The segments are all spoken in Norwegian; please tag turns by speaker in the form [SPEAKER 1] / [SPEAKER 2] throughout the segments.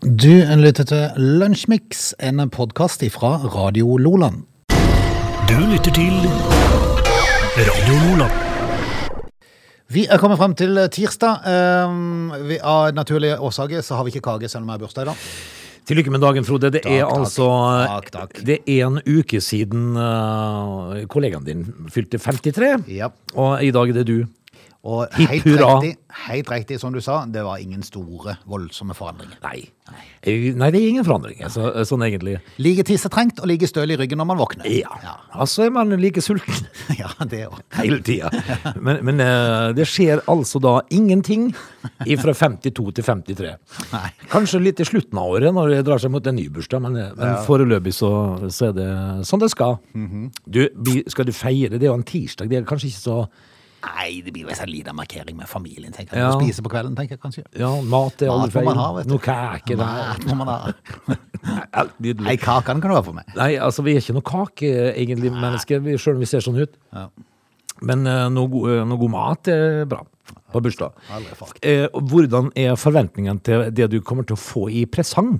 [SPEAKER 1] Du lytter til Lunsjmix, en podkast fra Radio Loland.
[SPEAKER 2] Du lytter til Radio Nordland.
[SPEAKER 1] Vi er kommet frem til tirsdag. Eh, vi, av naturlige årsaker så har vi ikke kake, selv om jeg har bursdag i dag.
[SPEAKER 2] Til lykke med dagen, Frode. Det er
[SPEAKER 1] takk.
[SPEAKER 2] altså
[SPEAKER 1] Takk, takk.
[SPEAKER 2] Det er en uke siden eh, kollegaen din fylte 53,
[SPEAKER 1] Ja.
[SPEAKER 2] og i dag er det du.
[SPEAKER 1] Og
[SPEAKER 2] eh, Hipp
[SPEAKER 1] helt
[SPEAKER 2] hurra.
[SPEAKER 1] riktig, helt riktig, som du sa, det var ingen store, voldsomme forandringer.
[SPEAKER 2] Nei. Eh, Nei, det er ingen forandring, altså, eh, sånn egentlig.
[SPEAKER 1] Like tissetrengt og like støl i ryggen når man våkner.
[SPEAKER 2] Ja. Altså er man like sulten
[SPEAKER 1] Ja, det òg.
[SPEAKER 2] hele tida. Men, men eh, det skjer altså da ingenting fra 52 til 53.
[SPEAKER 1] Nei.
[SPEAKER 2] Kanskje litt i slutten av året når det drar seg mot en ny bursdag, men, eh, men foreløpig så, så er det sånn det skal. du, vi- skal du feire? Det er jo en tirsdag, det er kanskje ikke så
[SPEAKER 1] Nei, det blir vel en sånn liten markering med familien, tenker jeg.
[SPEAKER 2] Ja.
[SPEAKER 1] Og Spise på kvelden, tenker jeg kanskje.
[SPEAKER 2] Ja, mat er
[SPEAKER 1] Mat
[SPEAKER 2] alle
[SPEAKER 1] må
[SPEAKER 2] feil.
[SPEAKER 1] man ha, vet du.
[SPEAKER 2] Noe kake
[SPEAKER 1] Nei,
[SPEAKER 2] da.
[SPEAKER 1] må man ha.
[SPEAKER 2] Alt Nydelig.
[SPEAKER 1] Ei kake den kan du ha for meg.
[SPEAKER 2] Nei, altså vi er ikke noe kake egentlig, mennesker, vi- selv om vi ser sånn ut.
[SPEAKER 1] Ja.
[SPEAKER 2] Men eh, noe, go- eh, noe god mat er bra på bursdag.
[SPEAKER 1] Aldri fuck.
[SPEAKER 2] Eh, og hvordan er forventningene til det du kommer til å få i presang?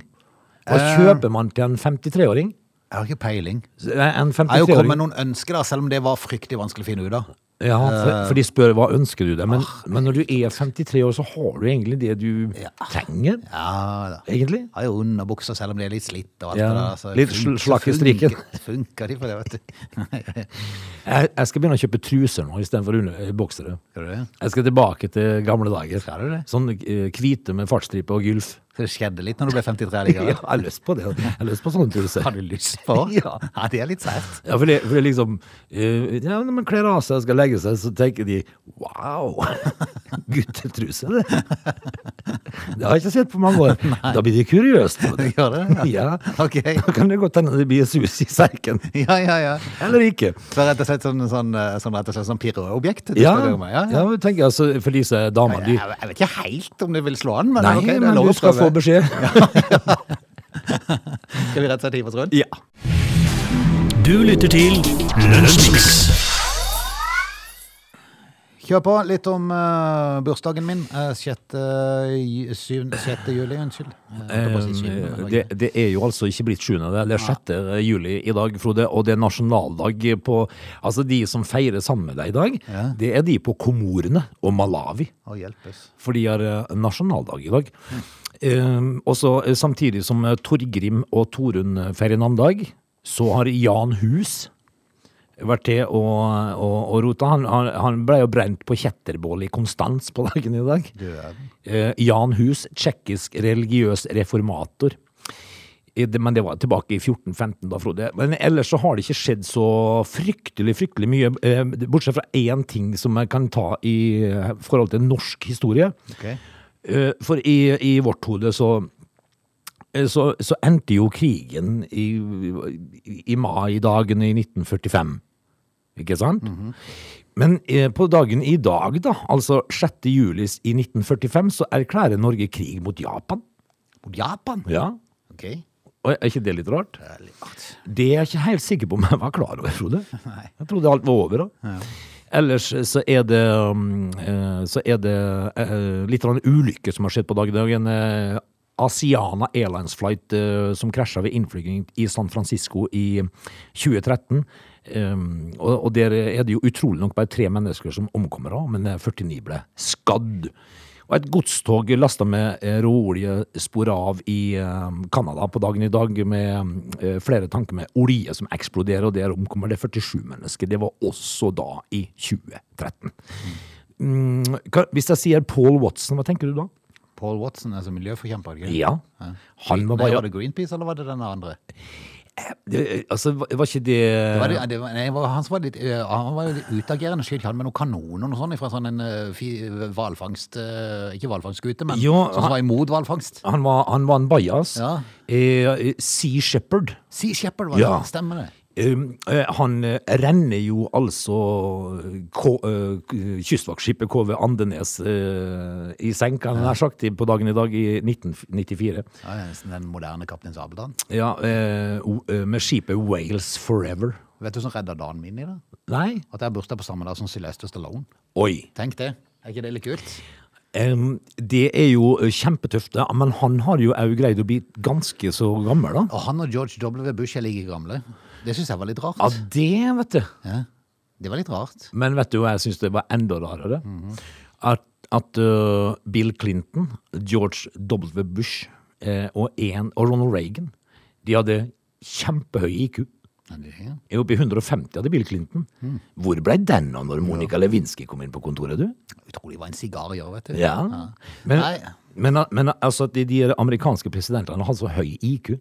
[SPEAKER 2] Hva
[SPEAKER 1] Eh.
[SPEAKER 2] kjøper man til en 53-åring?
[SPEAKER 1] Jeg har ikke peiling.
[SPEAKER 2] Eh, En
[SPEAKER 1] Jeg har jo
[SPEAKER 2] 53-åring
[SPEAKER 1] kommet med noen ønsker, da, selv om det var fryktelig vanskelig å finne ut av.
[SPEAKER 2] Ja, for,
[SPEAKER 1] Eh.
[SPEAKER 2] for de spør hva ønsker du deg, men,
[SPEAKER 1] Ah,
[SPEAKER 2] men når du er 53 år, så har du egentlig det du trenger,
[SPEAKER 1] Ja da.
[SPEAKER 2] egentlig.
[SPEAKER 1] Jeg har jo underbukser selv om de er litt slitt. og alt
[SPEAKER 2] Ja,
[SPEAKER 1] det der. så
[SPEAKER 2] litt
[SPEAKER 1] fun-
[SPEAKER 2] sl- slakk i
[SPEAKER 1] så
[SPEAKER 2] strikken.
[SPEAKER 1] funker- Funker de for det, vet du.
[SPEAKER 2] Jeg, jeg skal begynne å kjøpe truser nå istedenfor boksere.
[SPEAKER 1] Skal du det?
[SPEAKER 2] Jeg skal tilbake til gamle dager.
[SPEAKER 1] Skal du det?
[SPEAKER 2] Sånn eh, hvite med fartsstripe og gylf.
[SPEAKER 1] Så det skjedde litt når du ble 53
[SPEAKER 2] Ja,
[SPEAKER 1] likevel?
[SPEAKER 2] jeg har lyst på det. Jeg har lyst på sånne truser.
[SPEAKER 1] Har du lyst på?
[SPEAKER 2] Ja.
[SPEAKER 1] ja, det er litt sært.
[SPEAKER 2] Ja, for det, for det liksom eh, ja, Når man kler av seg og skal legge seg, så tenker de Wow! Guttetruse, det. Det har jeg ikke sett på mange år. Da blir de kuriøst. vet du.
[SPEAKER 1] Gjør det?
[SPEAKER 2] Ja.
[SPEAKER 1] Ok.
[SPEAKER 2] Da kan det godt hende det blir sus i serken.
[SPEAKER 1] Ja, ja, ja.
[SPEAKER 2] Eller ikke.
[SPEAKER 1] Så rett og slett sånn, sånn, eh, sånn, rett og slett sånn pirreobjekt? du
[SPEAKER 2] Ja,
[SPEAKER 1] skal gjøre med. ja, ja.
[SPEAKER 2] ja men tenker jeg, altså, for disse damene de,
[SPEAKER 1] Jeg, jeg vet ikke helt om det vil slå an, men
[SPEAKER 2] Nei,
[SPEAKER 1] ok, det er
[SPEAKER 2] men
[SPEAKER 1] lov
[SPEAKER 2] du
[SPEAKER 1] å
[SPEAKER 2] skal få
[SPEAKER 1] prøve.
[SPEAKER 2] beskjed.
[SPEAKER 1] Skal vi rett og slett hive oss rundt?
[SPEAKER 2] Ja.
[SPEAKER 3] Du lytter til Lunsjmix.
[SPEAKER 1] Kjør på litt om eh, bursdagen min. eh, 6. ju- syvende- 6. juli, unnskyld. Eh, jeg holdt på å si syvende, men det var
[SPEAKER 2] Eh,
[SPEAKER 1] ikke
[SPEAKER 2] Det, det er jo altså ikke blitt 7. Det det er 6. juli i dag, Frode, og det er nasjonaldag på Altså, de som feirer sammen med deg i dag,
[SPEAKER 1] Ja.
[SPEAKER 2] det er de på Komorene og Malawi.
[SPEAKER 1] Å hjelpes.
[SPEAKER 2] For de har eh, nasjonaldag i dag. Eh, og så eh, samtidig som eh, Torgrim og Torunn eh, feirer navndag, så har Jan Hus vært til å, å, å rote. Han, han, han ble jo brent på kjetterbål i Konstans på dagen i dag.
[SPEAKER 1] Du verden.
[SPEAKER 2] Eh, Jan Hus, tsjekkisk religiøs reformator. I det- Men det var tilbake i 1415, da, Frode. Men ellers så har det ikke skjedd så fryktelig fryktelig mye, eh, bortsett fra én ting som jeg kan ta i eh, forhold til norsk historie.
[SPEAKER 1] Ok.
[SPEAKER 2] Eh, For i, i vårt hode så, eh, så, så endte jo krigen i, i- i mai dagen i 1945. Ikke sant? Men eh, på dagen i dag, da, altså 6. juli i 1945, så erklærer Norge krig mot Japan.
[SPEAKER 1] Mot Japan?
[SPEAKER 2] Ja.
[SPEAKER 1] Ok.
[SPEAKER 2] Og er ikke det litt rart?
[SPEAKER 1] Det er litt rart.
[SPEAKER 2] Det er jeg ikke helt sikker på om jeg var klar over, Frode.
[SPEAKER 1] Nei.
[SPEAKER 2] Jeg trodde alt var over, da. Ellers eh, så er det, um, eh, så er det eh, litt av en ulykke som har skjedd på dagen. Det er jo en eh, Asiana Airlines flight eh, som krasja ved innflygning i San Francisco i 2013. Um, og, og der er det jo utrolig nok bare tre mennesker som omkommer da, men eh, 49 ble skadd. Og et godstog lasta med eh, råolje spor av i eh, Canada på dagen i dag med eh, flere tanker med olje som eksploderer, og der omkommer det 47 mennesker. Det var også da i 2013. Mm, hva, hvis jeg sier Paul Watson, hva tenker du da?
[SPEAKER 1] Paul Watson er som miljøforkjemper, ikke
[SPEAKER 2] Ja. Han var
[SPEAKER 1] Nei,
[SPEAKER 2] bare
[SPEAKER 1] var det Greenpeace, eller var det den andre?
[SPEAKER 2] det, Altså, var var ikke det
[SPEAKER 1] Var det, det var, nei, det var han som var litt, eh, han var jo litt utagerende, skyt han med noen kanoner og noe sånt fra sånn en eh, fi- hvalfangst eh, Ikke hvalfangstskute, men
[SPEAKER 2] Jo,
[SPEAKER 1] sånn som var imot hvalfangst.
[SPEAKER 2] han var, han var en bajas.
[SPEAKER 1] Ja.
[SPEAKER 2] Eh, sea Shepherd.
[SPEAKER 1] Sea Shepherd, var det?
[SPEAKER 2] Ja.
[SPEAKER 1] Stemmer det?
[SPEAKER 2] Um, eh, Han eh, renner jo altså K- eh, k- kystvaktskipet KV Andenes eh, i senk, han har sagt, i- på dagen i dag i 1994.
[SPEAKER 1] Ja, nesten den moderne Kaptein Sabeltann.
[SPEAKER 2] Ja, eh, o- eh, med skipet Wales Forever.
[SPEAKER 1] Vet du hva som redda dagen min i det?
[SPEAKER 2] Nei?
[SPEAKER 1] At jeg har bursdag på samme dag som Sylvester Stallone.
[SPEAKER 2] Oi.
[SPEAKER 1] Tenk det. Er ikke det litt kult?
[SPEAKER 2] Em, det er jo eh, kjempetøft, da, men han har jo òg greid å bli ganske så gammel, da.
[SPEAKER 1] Og han og George W. Bush er like gamle. Det syns jeg var litt rart.
[SPEAKER 2] Ja, det, vet du.
[SPEAKER 1] Ja. Det var litt rart.
[SPEAKER 2] Men vet du hva jeg syns det var enda rarere? At, at øh, Bill Clinton, George W. Bush eh, og, en, og Ronald Reagan, de hadde kjempehøy IQ.
[SPEAKER 1] Ja, det- ja.
[SPEAKER 2] Er Oppe i 150 hadde Bill Clinton. Hvor ble den av når Monica Lewinsky kom inn på kontoret, du?
[SPEAKER 1] Jeg tror de var en sigar i år, vet du.
[SPEAKER 2] Ja. Men,
[SPEAKER 1] Nei.
[SPEAKER 2] men, men altså, at de, de amerikanske presidentene hadde så høy IQ.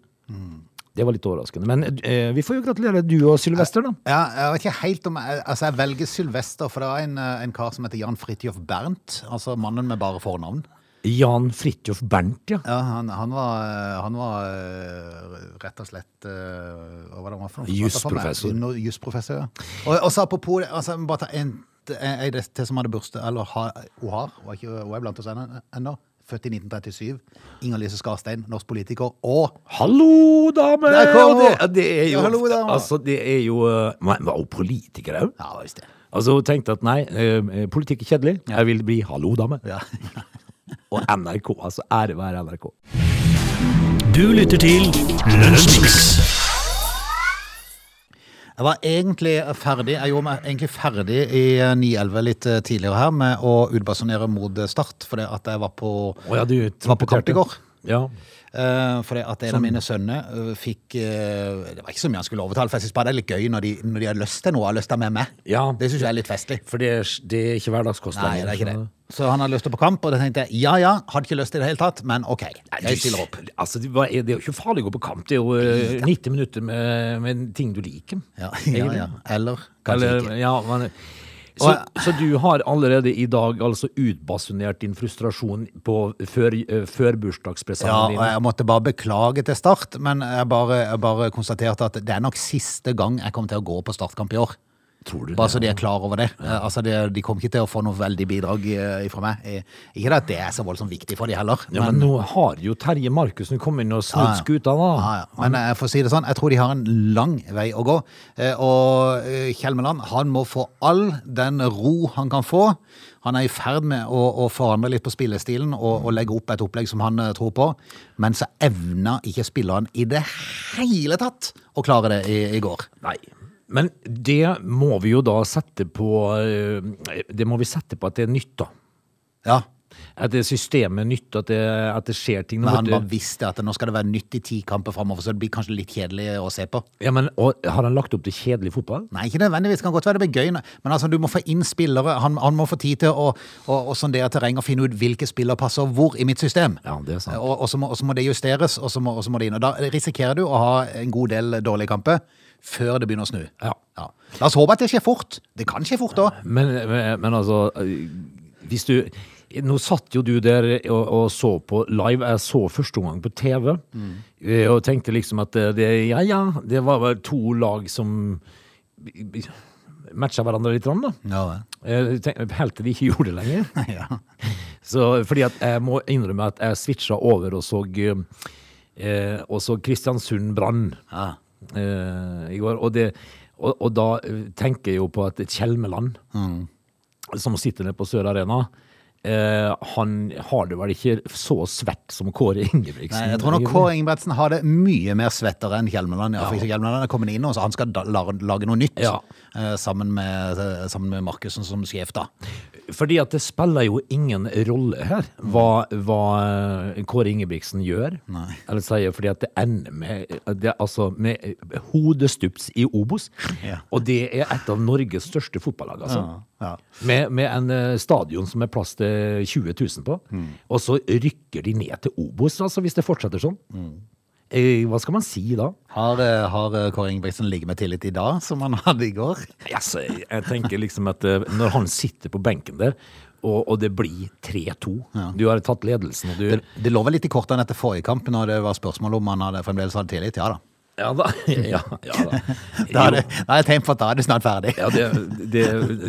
[SPEAKER 2] Det var litt overraskende. Men eh, vi får jo gratulere du og Sylvester, da.
[SPEAKER 1] Ja, jeg vet ikke helt om jeg, Altså, jeg velger Sylvester, for det er en, eh, en kar som heter Jan Fridtjof Bernt. Altså mannen med bare fornavn.
[SPEAKER 2] Jan Fridtjof Bernt, ja.
[SPEAKER 1] Ja, han, han var, eh, han var eh, rett og slett eh, Hva var det han var for noe?
[SPEAKER 2] Jusprofessor.
[SPEAKER 1] No- Jusprofessor, ja. Og, og så apropos det, altså, jeg må bare ta en en- en til som hadde bursdag, eller ha, hun har, hun er, ikke, hun er blant oss ennå, ennå, født i 1937. Inger-Lise Skarstein, norsk politiker, og
[SPEAKER 2] Hallo, dame!
[SPEAKER 1] Der kom
[SPEAKER 2] Og det,
[SPEAKER 1] hun!
[SPEAKER 2] det er jo,
[SPEAKER 1] Ja, hallo, dame.
[SPEAKER 2] Altså, det er jo eh, men Var hun politiker òg?
[SPEAKER 1] Ja, visst det.
[SPEAKER 2] Altså, hun tenkte at nei, eh, politikk er kjedelig. Jeg vil bli hallo, dame.
[SPEAKER 1] Ja.
[SPEAKER 2] Og NRK, altså. Ære være NRK.
[SPEAKER 3] Du lytter til Lunsjmix.
[SPEAKER 1] Jeg var egentlig ferdig Jeg gjorde meg egentlig ferdig i eh, 9-11 litt eh, tidligere her med å utbasunere mot eh, Start, fordi at jeg var på
[SPEAKER 2] Å ja, du
[SPEAKER 1] Var på kamp i går.
[SPEAKER 2] Ja.
[SPEAKER 1] eh, fordi at en av mine sønner eh, fikk eh, Det var ikke så mye han skulle overtale, for jeg syns bare det er litt gøy når de, når de har lyst til noe, har lyst til med meg.
[SPEAKER 2] Ja.
[SPEAKER 1] Det syns jeg er litt festlig.
[SPEAKER 2] For det er, det er ikke hverdagskost
[SPEAKER 1] Nei, det er ikke det.
[SPEAKER 2] så-
[SPEAKER 1] Så han har lyst til på kamp, og da tenkte jeg ja ja, hadde ikke lyst i det hele tatt, men OK, jeg stiller opp.
[SPEAKER 2] Altså, det, var, det er jo ikke farlig å gå på kamp. Det er jo eh, 90 minutter med, med ting du liker.
[SPEAKER 1] Ja, ja,
[SPEAKER 2] egentlig.
[SPEAKER 1] ja. Eller kanskje
[SPEAKER 2] Eller,
[SPEAKER 1] ikke.
[SPEAKER 2] ja, men, så,
[SPEAKER 1] Og-
[SPEAKER 2] så du har allerede i dag altså utbasunert din frustrasjon på før, eh, før
[SPEAKER 1] Ja,
[SPEAKER 2] bursdagspresangene
[SPEAKER 1] og jeg måtte bare beklage til start, men jeg bare, jeg bare konstaterte at det er nok siste gang jeg kommer til å gå på startkamp i år.
[SPEAKER 2] dine? Tror du
[SPEAKER 1] Bare
[SPEAKER 2] det?
[SPEAKER 1] så de er klar over det. Eh, Altså, de, de kommer ikke til å få noe veldig bidrag eh, fra meg. Eh, Ikke det at det er så voldsomt viktig for de heller.
[SPEAKER 2] Ja, men nå har jo Terje Markussen kommet inn og snudd skuta, da.
[SPEAKER 1] Ja, ja. Men eh, for å si det sånn, jeg tror de har en lang vei å gå. Eh, Og eh, Kjelmeland, han må få all den ro han kan få. Han er i ferd med å, å forandre litt på spillestilen og, og legge opp et opplegg som han eh, tror på. Men så evna ikke spilleren i det hele tatt å klare det i, i går.
[SPEAKER 2] Nei. Men det må vi jo da sette på eh, Det må vi sette på at det er nytt, da.
[SPEAKER 1] Ja,
[SPEAKER 2] At det systemet er nytt, at det, at det skjer ting. Nå
[SPEAKER 1] men han
[SPEAKER 2] vet du-
[SPEAKER 1] bare visste at nå skal det være nytt i ti kamper framover, så det blir kanskje litt kjedelig å se på.
[SPEAKER 2] Ja, men og, Har han lagt opp til kjedelig fotball?
[SPEAKER 1] Nei, ikke nødvendigvis. Det kan godt være det blir gøy, men altså, du må få inn spillere. Han, han må få tid til å, å, å sondere terreng og finne ut hvilke spillere passer hvor i mitt system.
[SPEAKER 2] Ja, det er sant.
[SPEAKER 1] Og, og, så, må, og så må det justeres, og så må, og så må det inn. Og da risikerer du å ha en god del dårlige kamper før det begynner å snu.
[SPEAKER 2] Ja.
[SPEAKER 1] Ja. La oss håpe at det skjer fort. Det kan skje fort òg.
[SPEAKER 2] Men, men men altså eh, Hvis du Nå satt jo du der og, og så på live. Jeg så første omgang på TV eh, og tenkte liksom at eh, det, ja, ja, det var vel to lag som matcha hverandre litt, grann, da.
[SPEAKER 1] Ja,
[SPEAKER 2] Eh, tenk- Helt til de ikke gjorde det lenger.
[SPEAKER 1] ja.
[SPEAKER 2] Så, fordi at jeg må innrømme at jeg switcha over og så, eh, og så Kristiansund Brann
[SPEAKER 1] Ja.
[SPEAKER 2] eh, i går. Og, det, og, og da eh, tenker jeg jo på at Kjelmeland,
[SPEAKER 1] Mm.
[SPEAKER 2] som sitter nede på Sør Arena eh, han har det vel ikke så svett som Kåre Ingebrigtsen.
[SPEAKER 1] Nei, jeg tror nok Kåre Ingebretsen har det mye mer svettere enn Hjelmeland. Ja, for Hjelmeland er kommet inn nå, så han skal da, la, lage noe nytt
[SPEAKER 2] Ja.
[SPEAKER 1] eh, sammen med, eh, sammen med Markussen som sjef, da.
[SPEAKER 2] Fordi at det spiller jo ingen rolle her hva, hva eh, Kåre Ingebrigtsen gjør.
[SPEAKER 1] Nei.
[SPEAKER 2] Eller sier fordi at det ender med, det, er altså, med hodestups i Obos.
[SPEAKER 1] Ja.
[SPEAKER 2] Og det er et av Norges største fotballag, altså.
[SPEAKER 1] Ja.
[SPEAKER 2] Med, med en eh, stadion som er plass til 20 000 på.
[SPEAKER 1] Mm.
[SPEAKER 2] Og så rykker de ned til Obos, altså, hvis det fortsetter sånn.
[SPEAKER 1] Mm.
[SPEAKER 2] Eh, hva skal man si da?
[SPEAKER 1] Har, eh, har eh, Kåre Ingebrigtsen ligget med tillit i dag, som han hadde i går?
[SPEAKER 2] Altså, jeg tenker liksom at eh, når han sitter på benken der, og, og det blir 3-2 Du har tatt ledelsen, og du
[SPEAKER 1] Det, det lå vel litt i kortene etter forrige kamp, når det var spørsmål om han hadde, fremdeles hadde tillit. Ja da.
[SPEAKER 2] Ja da. Ja, ja, da.
[SPEAKER 1] Da er
[SPEAKER 2] Jo,
[SPEAKER 1] det, da er det tegn på at da er det snart ferdig.
[SPEAKER 2] ja, det, det,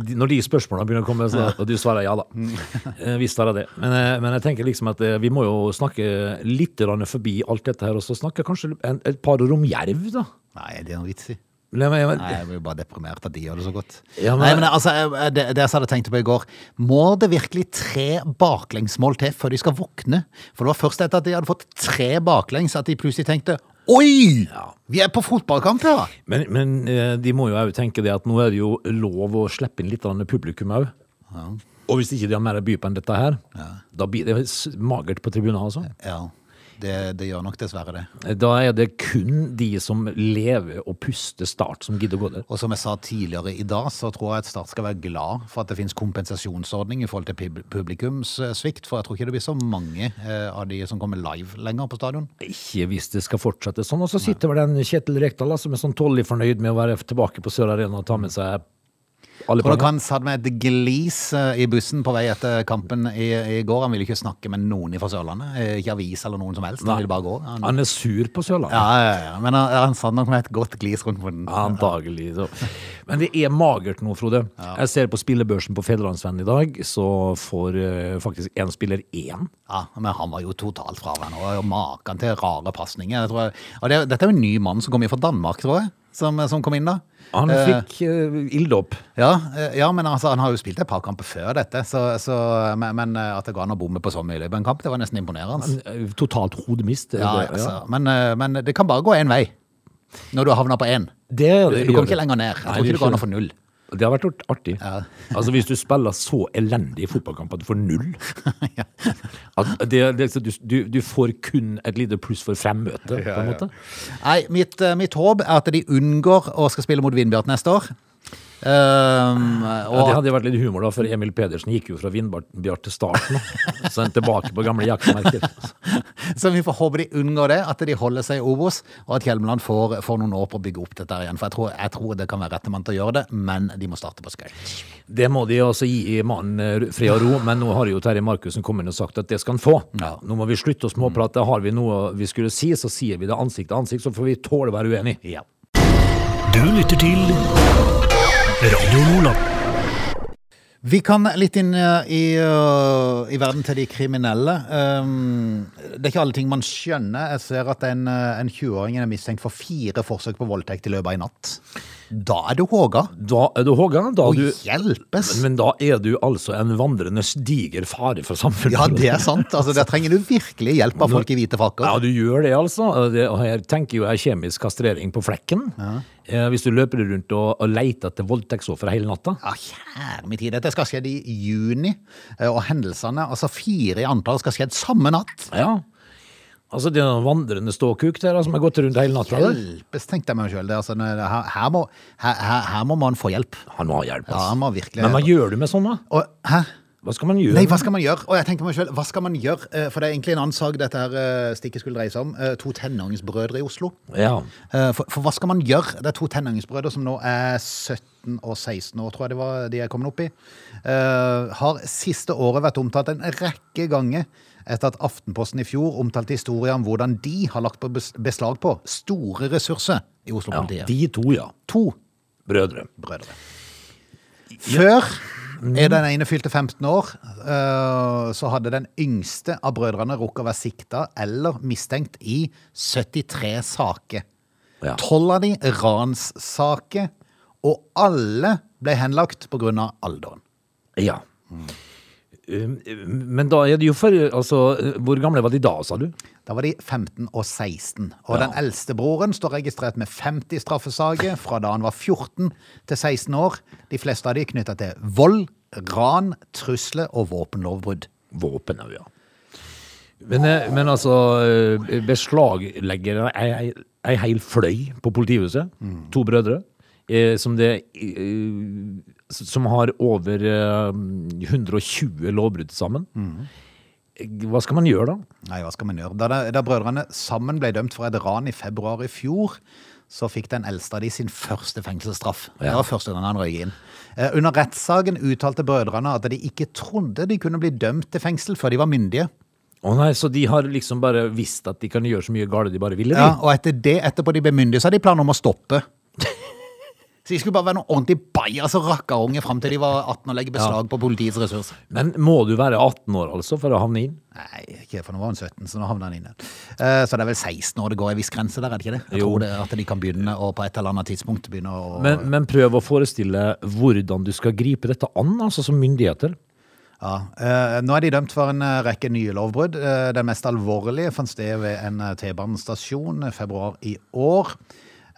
[SPEAKER 2] de- når de spørsmålene begynner å komme, så, og du svarer ja da.
[SPEAKER 1] Mm.
[SPEAKER 2] Eh, Visst har jeg det. Men, eh, men jeg tenker liksom at eh, vi må jo snakke litt grann forbi alt dette her, og så snakke kanskje en, et par ord om jerv, da.
[SPEAKER 1] Nei, det er noe vits i.
[SPEAKER 2] La meg-
[SPEAKER 1] Nei, jeg blir bare deprimert at de gjør det så godt.
[SPEAKER 2] Ja, men-
[SPEAKER 1] Nei, men altså, jeg- det, det jeg hadde tenkt på i går Må det virkelig tre baklengsmål til før de skal våkne? For det var først etter at de hadde fått tre baklengs at de plutselig tenkte Oi! Vi er på fotballkamp, ja!
[SPEAKER 2] Men, men eh, de må jo òg tenke det at nå er det jo lov å slippe inn litt grann publikum òg. Og hvis ikke de har mer å by på enn dette her, da blir det s- magert på tribunet. Altså.
[SPEAKER 1] Ja, det, det gjør nok dessverre det.
[SPEAKER 2] Da er det kun de som lever og puster Start, som gidder å gå der.
[SPEAKER 1] Og som jeg sa tidligere i dag, så tror jeg at Start skal være glad for at det finnes kompensasjonsordning i forhold til pub- publikumssvikt, for jeg tror ikke det blir så mange eh, av de som kommer live lenger på stadion.
[SPEAKER 2] Ikke hvis det skal fortsette sånn. Og så sitter vel den Kjetil Rekdal da, som er sånn tålelig fornøyd med å være tilbake på Sør Arena og ta med seg alle
[SPEAKER 1] Tror dere han
[SPEAKER 2] poengene.
[SPEAKER 1] satt med et glis eh, i bussen på vei etter kampen i, i går? Han ville ikke snakke med noen fra Sørlandet, eh, ikke avis eller noen som helst. Han ville bare gå. Han,
[SPEAKER 2] Han er sur på Sørlandet.
[SPEAKER 1] ja, ja, ja, men han, han satt nok med et godt glis rundt munnen.
[SPEAKER 2] Antagelig. Så. Men det er magert nå, Frode. Jeg ser på spillebørsen på Federlandsvennen i dag, så får eh, faktisk én spiller én.
[SPEAKER 1] Ja, men han var jo totalt fraværende, og maken til rare pasninger. jeg tror jeg- Og det, dette er jo en ny mann som kom inn fra Danmark, tror jeg, som, som kom inn da.
[SPEAKER 2] Han
[SPEAKER 1] Eh,
[SPEAKER 2] fikk uh, ilddåp.
[SPEAKER 1] Ja, eh, ja, men altså, han har jo spilt et par kamper før dette, så, så, men, men eh, at det går an å bomme på så mye i løpet av en kamp, det var nesten imponerende.
[SPEAKER 2] Eh, Totalt hodemist.
[SPEAKER 1] Ja,
[SPEAKER 2] det,
[SPEAKER 1] altså. Men, eh, men det kan bare gå én vei når du har havna på én.
[SPEAKER 2] det,
[SPEAKER 1] Du, du
[SPEAKER 2] gjør
[SPEAKER 1] kommer
[SPEAKER 2] det.
[SPEAKER 1] ikke lenger ned. Jeg
[SPEAKER 2] Nei,
[SPEAKER 1] tror ikke
[SPEAKER 2] det
[SPEAKER 1] det går an å
[SPEAKER 2] gjør
[SPEAKER 1] få null.
[SPEAKER 2] Det har vært artig.
[SPEAKER 1] Ja.
[SPEAKER 2] altså Hvis du spiller så elendig i fotballkamp at du får null at det, det, du, du, du får kun et lite pluss for fremmøte, på en måte.
[SPEAKER 1] Nei, mitt, eh, mitt håp er at de unngår å skal spille mot Vindbjart neste år. Ehm,
[SPEAKER 2] Ja, det
[SPEAKER 1] og,
[SPEAKER 2] hadde jo vært litt humor, da, for Emil Pedersen gikk jo fra Vindbjart til starten. da. Så han tilbake på gamle jakkemerker.
[SPEAKER 1] så vi får håpe de unngår det, at de holder seg i Obos, og at Hjelmeland får, får noen år på å bygge opp dette her igjen. For jeg tror, jeg tror det kan være rette mann til å gjøre det, men de må starte på skøyt.
[SPEAKER 2] Det må de altså gi mannen eh, fred og ro, men nå har jo Terje Markussen kommet inn og sagt at det skal han få.
[SPEAKER 1] Ja.
[SPEAKER 2] Nå må vi slutte å småprate. Har vi noe vi skulle si, så sier vi det ansikt til ansikt, så får vi tåle å være uenige.
[SPEAKER 1] Ja.
[SPEAKER 3] Du lytter til Radio Nordland.
[SPEAKER 1] Vi kan litt inn eh, i, eh, i verden til de kriminelle. Um, det er ikke alle ting man skjønner. Jeg ser at en, eh, en 20-åring er mistenkt for fire forsøk på voldtekt i løpet av en natt. Da er du håga.
[SPEAKER 2] Da er du Håga. Da
[SPEAKER 1] Å,
[SPEAKER 2] er du
[SPEAKER 1] hjelpes!
[SPEAKER 2] Men da er du altså en vandrende diger fare for samfunnet.
[SPEAKER 1] Ja, det er sant. Altså, Der trenger du virkelig hjelp av folk i hvite
[SPEAKER 2] Ja,
[SPEAKER 1] frakker.
[SPEAKER 2] du gjør det, altså. Det, og jeg tenker jo jeg kjemisk kastrering på flekken. Eh, hvis du løper rundt og, og leter etter voldtektsofre hele natta.
[SPEAKER 1] Ja, kjære min tid. Dette skal ha skjedd i juni, eh, og hendelsene, altså fire i antall, skal ha skjedd samme natt.
[SPEAKER 2] Ja. Altså, det er noen vandrende ståkuk der da, som har gått rundt hele natta. der.
[SPEAKER 1] Hjelpes, tenkte jeg meg sjøl. Altså, når det- her, her, må- her, her, her må man få hjelp.
[SPEAKER 2] Han må ha hjelp,
[SPEAKER 1] Ja,
[SPEAKER 2] altså.
[SPEAKER 1] han må virkelig
[SPEAKER 2] Men hva gjør du med sånn, da?
[SPEAKER 1] Og, hæ?
[SPEAKER 2] Hva skal man gjøre?
[SPEAKER 1] Nei, hva skal man gjøre? Og jeg tenkte meg selv, hva skal man gjøre? Eh, For det er egentlig en annen sak dette her eh, stikket skulle dreie seg om. Eh, To tenåringsbrødre i Oslo.
[SPEAKER 2] Ja.
[SPEAKER 1] Eh, For, for hva skal man gjøre? Det er to tenåringsbrødre som nå er 17 og 16 år, tror jeg det var de er kommet opp i. Eh, Har siste året vært omtalt en rekke ganger etter at Aftenposten i fjor omtalte historier om hvordan de har lagt på bes- beslag på store ressurser i
[SPEAKER 2] ja.
[SPEAKER 1] Oslo-politiet.
[SPEAKER 2] De to, ja.
[SPEAKER 1] To
[SPEAKER 2] Brødre.
[SPEAKER 1] brødre. Før er den ene fylte 15 år, eh, så hadde den yngste av brødrene rukket å være sikta eller mistenkt i 73 saker.
[SPEAKER 2] Ja.
[SPEAKER 1] Tolv av de ranssaker, og alle ble henlagt pga. alderen.
[SPEAKER 2] ja. Um, Men da er det jo for Altså, hvor gamle var de da, sa du?
[SPEAKER 1] Da var de 15 og 16. Og den eldste broren står registrert med 50 straffesaker fra da han var 14 til 16 år. De fleste av de er knytta til vold, ran, trusler og våpenlovbrudd.
[SPEAKER 2] Våpen òg, ja. Men, eh, men altså, eh, beslaglegger ei, ei, ei hel fløy på politihuset.
[SPEAKER 1] Mm.
[SPEAKER 2] To brødre. Eh, som, det, eh, s- som har over eh, 120 lovbrudd sammen.
[SPEAKER 1] Mm.
[SPEAKER 2] Eh, Hva skal man gjøre da?
[SPEAKER 1] Nei, hva skal man gjøre? Da, da brødrene sammen ble dømt for et ran i februar i fjor, så fikk den eldste av de sin første fengselsstraff. Det var første gang han røy inn. Eh, under rettssaken uttalte brødrene at de ikke trodde de kunne bli dømt til fengsel før de var myndige.
[SPEAKER 2] Å nei, Så de har liksom bare visst at de kan gjøre så mye galt de bare ville? de?
[SPEAKER 1] Ja, og etter det, etterpå de ble myndige, så hadde de planer om å stoppe. Så de skulle bare være noen ordentlig bajas og rakkerunge fram til de var 18 og legge beslag på politiets ressurser.
[SPEAKER 2] Men må du være 18 år, altså, for å havne inn?
[SPEAKER 1] Nei, ikke for nå var han 17, så nå havner han inne. Eh, Så det er vel 16 år det går en viss grense der, er det ikke det? Jeg
[SPEAKER 2] Jo.
[SPEAKER 1] tror det er at de kan begynne å på et eller annet tidspunkt begynne å
[SPEAKER 2] Men, men prøv å forestille hvordan du skal gripe dette an, altså som myndigheter.
[SPEAKER 1] Ja, eh, Nå er de dømt for en eh, rekke nye lovbrudd. Eh, den mest alvorlige fant sted ved en eh, T-banestasjon i februar i år.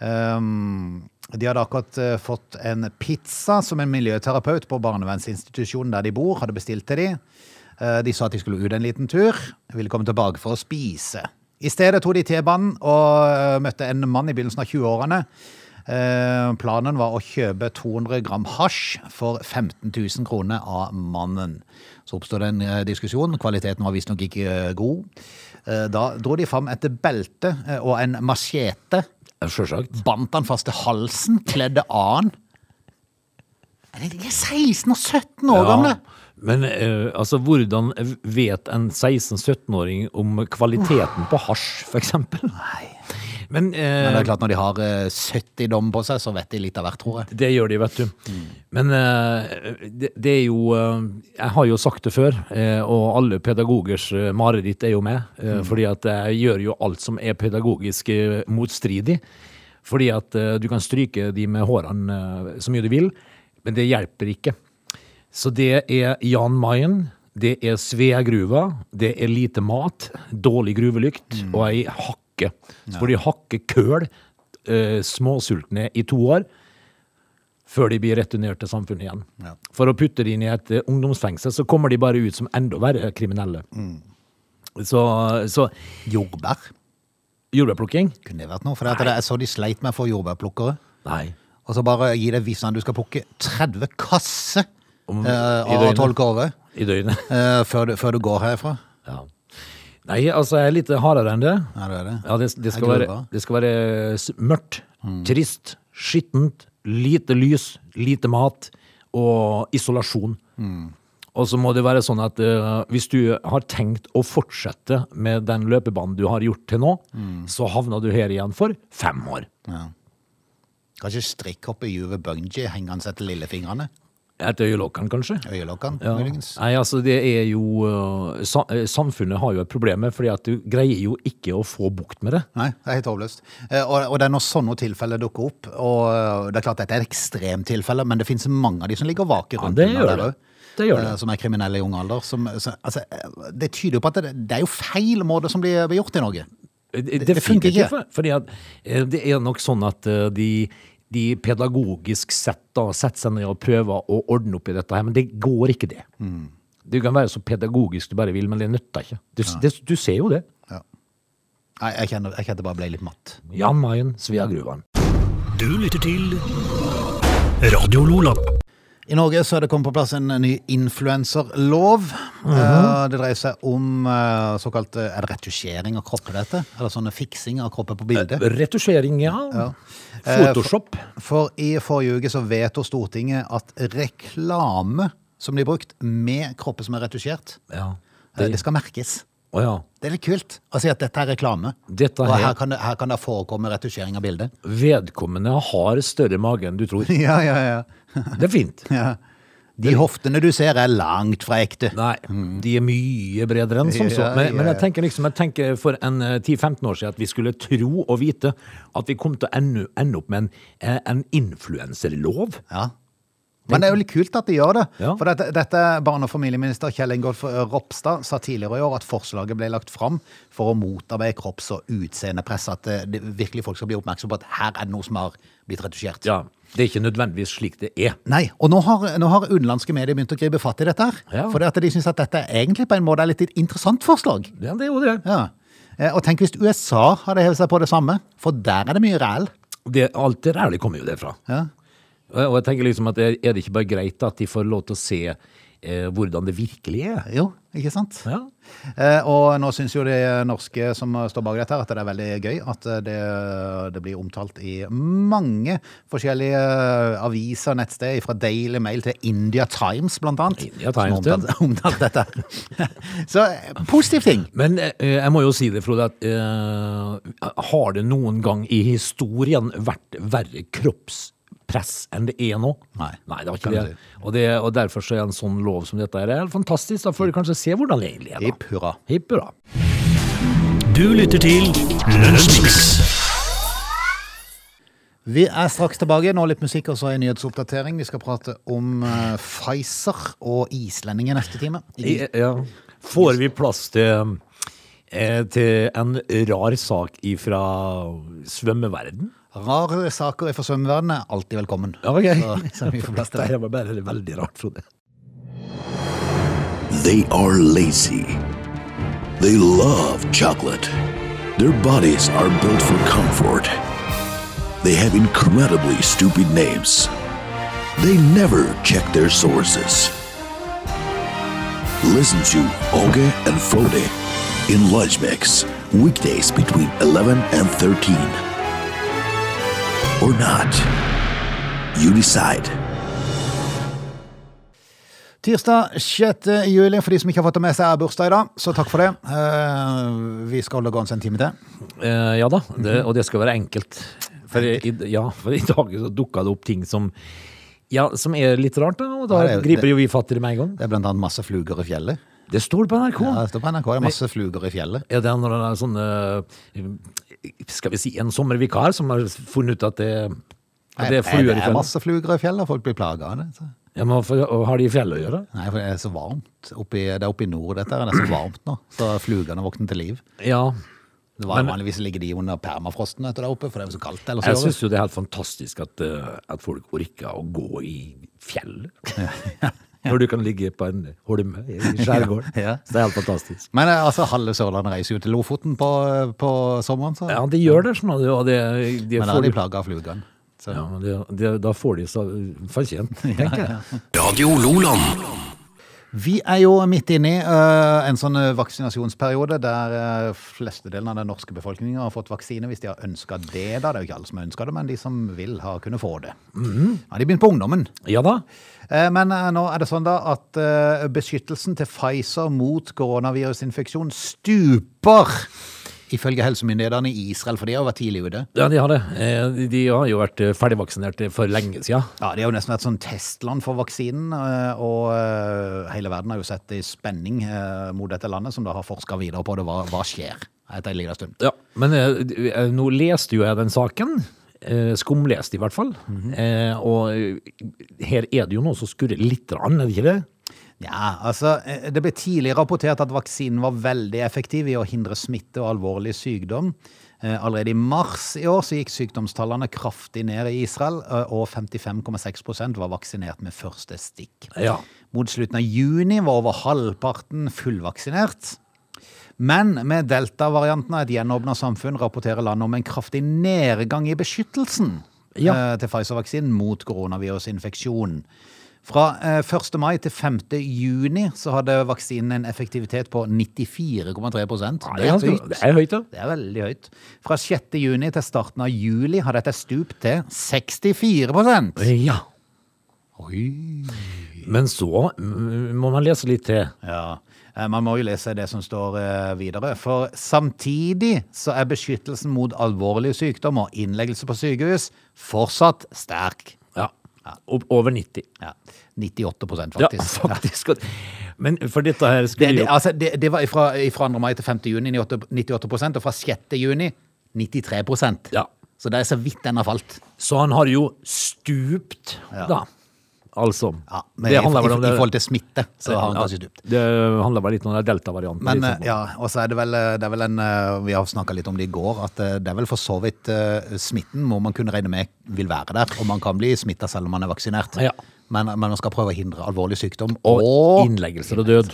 [SPEAKER 1] Ehm, de hadde akkurat eh, fått en pizza som en miljøterapeut på barnevernsinstitusjonen der de bor, hadde bestilt til de. Eh, de sa at de skulle ut en liten tur, ville komme tilbake for å spise. I stedet tok de T-banen og eh, møtte en mann i begynnelsen av 20-årene. Eh, Planen var å kjøpe 200 gram hasj for 15 000 kroner av mannen. Så oppstod det en eh, diskusjon. Kvaliteten var visstnok ikke eh, god. Eh, Da dro de fram et belte eh, og en machete.
[SPEAKER 2] Sjølsagt.
[SPEAKER 1] Bandt han fast til halsen, kledde an. Er det ikke 16 og 17 år gamle?
[SPEAKER 2] Men eh, altså, hvordan vet en 16-17-åring om kvaliteten på hasj, f.eks.? Nei. Men, eh,
[SPEAKER 1] Men det er klart når de har eh, 70 dom på seg, så vet de litt av hvert, tror jeg.
[SPEAKER 2] Det gjør de, vet du. Men eh, det, det er jo eh, Jeg har jo sagt det før, eh, og alle pedagogers eh, mareritt er jo med. eh, Fordi at jeg gjør jo alt som er pedagogisk eh, motstridig. Fordi at eh, du kan stryke de med hårene eh, så mye du vil, men det hjelper ikke. Så det er Jan Mayen, det er Sveagruva, det er lite mat, dårlig gruvelykt
[SPEAKER 1] Mm.
[SPEAKER 2] og ei hakke. Så får de hakke køl, eh, småsultne i to år, før de blir returnert til samfunnet igjen.
[SPEAKER 1] Ja.
[SPEAKER 2] For å putte de inn i et eh, ungdomsfengsel, så kommer de bare ut som enda verre kriminelle.
[SPEAKER 1] Mm.
[SPEAKER 2] Så, så
[SPEAKER 1] Jordbær,
[SPEAKER 2] jordbærplukking?
[SPEAKER 1] kunne det vært noe? For det at det- jeg så de sleit med å få jordbærplukkere.
[SPEAKER 2] Nei.
[SPEAKER 1] Og så bare gi deg visene du skal plukke 30 kasser
[SPEAKER 2] Om-
[SPEAKER 1] eh,
[SPEAKER 2] i
[SPEAKER 1] av
[SPEAKER 2] døgnet.
[SPEAKER 1] tolv korver
[SPEAKER 2] I døgnet.
[SPEAKER 1] eh, før, du- før du går herfra.
[SPEAKER 2] Ja. Nei, altså, jeg er litt hardere enn det.
[SPEAKER 1] Ja, det er det.
[SPEAKER 2] Ja, det, det, skal
[SPEAKER 1] Jeg gruer
[SPEAKER 2] være,
[SPEAKER 1] meg.
[SPEAKER 2] det skal være s- mørkt, trist, skittent, lite lys, lite mat og isolasjon. Og så må det være sånn at eh, hvis du har tenkt å fortsette med den løpebanen du har gjort til nå, så havner du her igjen for fem år.
[SPEAKER 1] Kanskje strikkhoppe, juve, bungee, henge han seg til lillefingrene?
[SPEAKER 2] Et øyelokkene, kanskje?
[SPEAKER 1] Øyelokkene,
[SPEAKER 2] Ja.
[SPEAKER 1] muligens?
[SPEAKER 2] Nei, altså det er jo eh, sa, eh, Samfunnet har jo et problem med, fordi at du greier jo ikke å få bukt med det.
[SPEAKER 1] Nei, det er helt håpløst. Eh, Og, og det er når sånne tilfeller dukker opp, og eh, det er klart dette er ekstremtilfeller, men det finnes mange av de som ligger og vaker
[SPEAKER 2] Ja,
[SPEAKER 1] rundt
[SPEAKER 2] det
[SPEAKER 1] under
[SPEAKER 2] gjør
[SPEAKER 1] der
[SPEAKER 2] det.
[SPEAKER 1] også,
[SPEAKER 2] Det gjør
[SPEAKER 1] eh,
[SPEAKER 2] det.
[SPEAKER 1] Som er kriminelle i ung alder. Som, så, altså, eh, det tyder jo på at det, det er jo feil måte som blir blir gjort i Norge.
[SPEAKER 2] Det,
[SPEAKER 1] det funker ikke.
[SPEAKER 2] For, fordi at eh, det er nok sånn at eh, de, de pedagogisk sett da, setter seg ned og prøver å ordne opp i dette her, men det går ikke det.
[SPEAKER 1] Mm.
[SPEAKER 2] Du kan være så pedagogisk du bare vil, men det nytter ikke. Du, det, du ser jo det.
[SPEAKER 1] Nei, jeg kjenner, jeg kjenner det bare ble litt matt.
[SPEAKER 2] Jan Mayen, Sveagruvan.
[SPEAKER 3] Du lytter til Radio Lola.
[SPEAKER 1] I Norge så er det kommet på plass en ny influenserlov. Eh, Det dreier seg om eh, såkalt eh, Er det retusjering av kropper, dette? Eller sånne fiksing av kropper på bildet?
[SPEAKER 2] Retusjering, ja. Photoshop.
[SPEAKER 1] Eh, For i forrige uke så vedtok Stortinget at reklame som blir brukt med kropper som er retusjert,
[SPEAKER 2] Ja.
[SPEAKER 1] eh,
[SPEAKER 2] Det,
[SPEAKER 1] det skal merkes.
[SPEAKER 2] å ja.
[SPEAKER 1] Det er litt kult å si at dette er reklame.
[SPEAKER 2] Dette
[SPEAKER 1] Og
[SPEAKER 2] her-
[SPEAKER 1] her kan, det, her kan det forekomme retusjering av bildet.
[SPEAKER 2] Vedkommende har større mage enn du tror.
[SPEAKER 1] Ja, ja, ja.
[SPEAKER 2] Det er fint.
[SPEAKER 1] De hoftene du ser, er langt fra ekte.
[SPEAKER 2] Nei, de er mye bredere enn som så.
[SPEAKER 1] Mm. Ja,
[SPEAKER 2] Men, men
[SPEAKER 1] ja,
[SPEAKER 2] jeg
[SPEAKER 1] ja.
[SPEAKER 2] tenker liksom, jeg tenker for en eh, 10-15 år siden at vi skulle tro og vite at vi kom til å ende, ende opp med en, eh, en influenserlov.
[SPEAKER 1] Ja. Men det er jo litt kult at de gjør det.
[SPEAKER 2] Ja.
[SPEAKER 1] For dette, dette barne- og familieminister Kjell Ingolf eh, Ropstad sa tidligere i år at forslaget ble lagt fram for å motarbeide kropps- og utseendepress. At eh, det, virkelig folk skal bli oppmerksom på at her er det noe som har blitt retusjert.
[SPEAKER 2] Ja, det er ikke nødvendigvis slik det er.
[SPEAKER 1] Nei, og nå har, nå har utenlandske medier begynt å gripe fatt i dette her.
[SPEAKER 2] Ja.
[SPEAKER 1] Fordi at de syns at dette egentlig på en måte er litt et interessant forslag.
[SPEAKER 2] Ja, det er jo det.
[SPEAKER 1] Ja. Eh, Og tenk hvis USA hadde hevet seg på det samme, for der er det mye ræl.
[SPEAKER 2] det alt det der det kommer jo derfra.
[SPEAKER 1] Ja.
[SPEAKER 2] Og og jeg tenker liksom at er er det ikke bare greit at de får lov til å se eh, hvordan det virkelig er?
[SPEAKER 1] Jo, ikke sant?
[SPEAKER 2] Ja.
[SPEAKER 1] Eh, Og nå syns jo de norske som står bak dette, her at det er veldig gøy at eh, det, det blir omtalt i mange forskjellige eh, aviser og nettsteder, fra Daily Mail til India Times, blant annet.
[SPEAKER 2] India Times,
[SPEAKER 1] som omtalt, omtalt dette. her. Så eh, positiv ting.
[SPEAKER 2] Men eh, jeg må jo si det, Frode, at eh, har det noen gang i historien vært verre kropps press enn det er nå.
[SPEAKER 1] Nei,
[SPEAKER 2] det var
[SPEAKER 1] kan
[SPEAKER 2] ikke
[SPEAKER 1] du
[SPEAKER 2] det. Og, det, og derfor så er en sånn lov som dette her helt fantastisk. Da får de kanskje se hvordan det egentlig er. da.
[SPEAKER 1] Hipp hurra.
[SPEAKER 2] Hipp hurra.
[SPEAKER 3] Du lytter til Lunsjmix.
[SPEAKER 1] Vi er straks tilbake. Nå litt musikk og så en nyhetsoppdatering. Vi skal prate om eh, Pfizer og islendinger neste time.
[SPEAKER 2] I- Ja. Får vi plass til, eh, til en rar sak fra svømmeverden?
[SPEAKER 1] Rare saker fra svømmeverdenen er alltid velkommen. Så, så vi får plass til det.
[SPEAKER 2] Dette var bare veldig rart, Frode.
[SPEAKER 4] They are lazy. They love chocolate. Their bodies are built for comfort. They have incredibly stupid names. They never check their sources. Listen to Oge and Frode in Lunch Mix, weekdays between 11 and 13. Or not. You decide.
[SPEAKER 1] Tirsdag 6. juli, for de som ikke har fått det med seg, er bursdag i dag, så takk for det. Eh, vi skal holde gående en time til.
[SPEAKER 2] Eh, ja da, det, og det skal være enkelt. For i, ja, for i dag så dukka det opp ting som ja, som er litt rart, da, og da
[SPEAKER 1] Ja, det er jo-
[SPEAKER 2] griper jo vi fatt i det med en gang.
[SPEAKER 1] Det er blant annet masse fluger i fjellet.
[SPEAKER 2] Det står på NRK.
[SPEAKER 1] Ja, det står på NRK, det er masse fluger i fjellet.
[SPEAKER 2] Er det en eller annen sånn eh, Skal vi si en sommervikar som har funnet ut at det, at det er
[SPEAKER 1] Nei,
[SPEAKER 2] fluer i
[SPEAKER 1] det er
[SPEAKER 2] fjellet?
[SPEAKER 1] masse fluger i fjellet, og folk blir plaget av det. Så.
[SPEAKER 2] Ja, men hvorfor- og har de i fjellet å gjøre?
[SPEAKER 1] Nei, for det er så varmt. Oppi, det er oppe i nord, dette her. Det er så varmt nå. Så flugene våkner til liv.
[SPEAKER 2] Ja.
[SPEAKER 1] Det var jo
[SPEAKER 2] Men-
[SPEAKER 1] vanligvis ligger de under permafrosten vet du, der oppe, for det er jo så kaldt. Eller
[SPEAKER 2] Jeg
[SPEAKER 1] så
[SPEAKER 2] syns jo det er helt fantastisk at, eh, at folk orker å gå i fjell. Når du kan ligge på en holme i skjærgården.
[SPEAKER 1] Ja, ja.
[SPEAKER 2] Så det er helt fantastisk.
[SPEAKER 1] Men eh, altså, halve Sørlandet reiser jo til Lofoten på, eh, på sommeren, så
[SPEAKER 2] Ja, de gjør det, sånn, og det, de
[SPEAKER 1] men da
[SPEAKER 2] får
[SPEAKER 1] er de
[SPEAKER 2] de
[SPEAKER 1] plaga av flugene. Så.
[SPEAKER 2] ja, men det, det, da får de så fortjent, tenker jeg.
[SPEAKER 4] Radio Loland.
[SPEAKER 1] Vi er jo midt inne i eh, en sånn eh, vaksinasjonsperiode der eh, flestedelen av den norske befolkningen har fått vaksine hvis de har ønska det. da. Det er jo ikke alle som ønsker det, men de som vil, har kunnet få det. Ja, De begynner på ungdommen.
[SPEAKER 2] Ja da.
[SPEAKER 1] Eh, Men eh, nå er det sånn da at eh, beskyttelsen til Pfizer mot koronavirusinfeksjon stuper, ifølge helsemyndighetene i Israel, for de har jo vært tidlig ute.
[SPEAKER 2] Ja, de har det. Eh, de- De har jo vært eh, ferdigvaksinert for lenge siden.
[SPEAKER 1] Ja, Det har jo nesten vært sånn testland for vaksinen, eh, og eh, hele verden har jo sett i spenning eh, mot dette landet, som da har forska videre på det. Hva, hva skjer? Etter en liten stund.
[SPEAKER 2] Ja, men eh, d- eh, nå leste jo jeg den saken. Eh, Skumlest i hvert fall. eh, og eh, her er det jo noe som skurrer litt, rann, er det ikke det?
[SPEAKER 1] Ja, altså, eh, Det ble tidlig rapportert at vaksinen var veldig effektiv i å hindre smitte og alvorlig sykdom. Eh, Allerede i mars i år så gikk sykdomstallene kraftig ned i Israel, eh, og 55,6 var vaksinert med første stikk.
[SPEAKER 2] Ja.
[SPEAKER 1] Mot slutten av juni var over halvparten fullvaksinert. Men med delta-varianten av et gjenåpna samfunn rapporterer landet om en kraftig nedgang i beskyttelsen
[SPEAKER 2] Ja.
[SPEAKER 1] eh, til Pfizer-vaksinen mot koronavirusinfeksjon. Fra eh, 1. mai til 5. juni så hadde vaksinen en effektivitet på 94,3
[SPEAKER 2] Det er ganske- Det er høyt, ja.
[SPEAKER 1] Det er veldig høyt. Fra 6. juni til starten av juli har dette stupt til 64
[SPEAKER 2] Ja.
[SPEAKER 1] Oi.
[SPEAKER 2] Men så mm, må man lese litt til.
[SPEAKER 1] Ja, eh, man må jo lese det som står eh, videre. For samtidig så er beskyttelsen mot alvorlige sykdommer og innleggelse på sykehus fortsatt sterk.
[SPEAKER 2] Ja. Opp over 90.
[SPEAKER 1] Ja, 98
[SPEAKER 2] Ja,
[SPEAKER 1] faktisk. Ja.
[SPEAKER 2] faktisk. Men for dette her
[SPEAKER 1] Det,
[SPEAKER 2] skulle
[SPEAKER 1] det,
[SPEAKER 2] jo
[SPEAKER 1] altså, det, det var fra, 2. mai til 5. juni 98 98 og fra 6. juni 93
[SPEAKER 2] Ja.
[SPEAKER 1] Så det er så vidt den har falt.
[SPEAKER 2] Så han har jo stupt, da. Altså.
[SPEAKER 1] Ja, men i, i,
[SPEAKER 2] vel om
[SPEAKER 1] i forhold til smitte så har den
[SPEAKER 2] Ja,
[SPEAKER 1] kanskje stupt.
[SPEAKER 2] Det handler vel litt om den delta-varianten.
[SPEAKER 1] Men
[SPEAKER 2] liksom.
[SPEAKER 1] eh, ja, og så er det vel, eh, det er vel en eh, Vi har snakka litt om det i går, at eh, det er vel for så vidt eh, smitten må man kunne regne med vil være der. Og man kan bli smitta selv om man er vaksinert.
[SPEAKER 2] Ja.
[SPEAKER 1] Men, men man skal prøve å hindre alvorlig sykdom
[SPEAKER 2] Og
[SPEAKER 1] og,
[SPEAKER 2] innleggelser og død.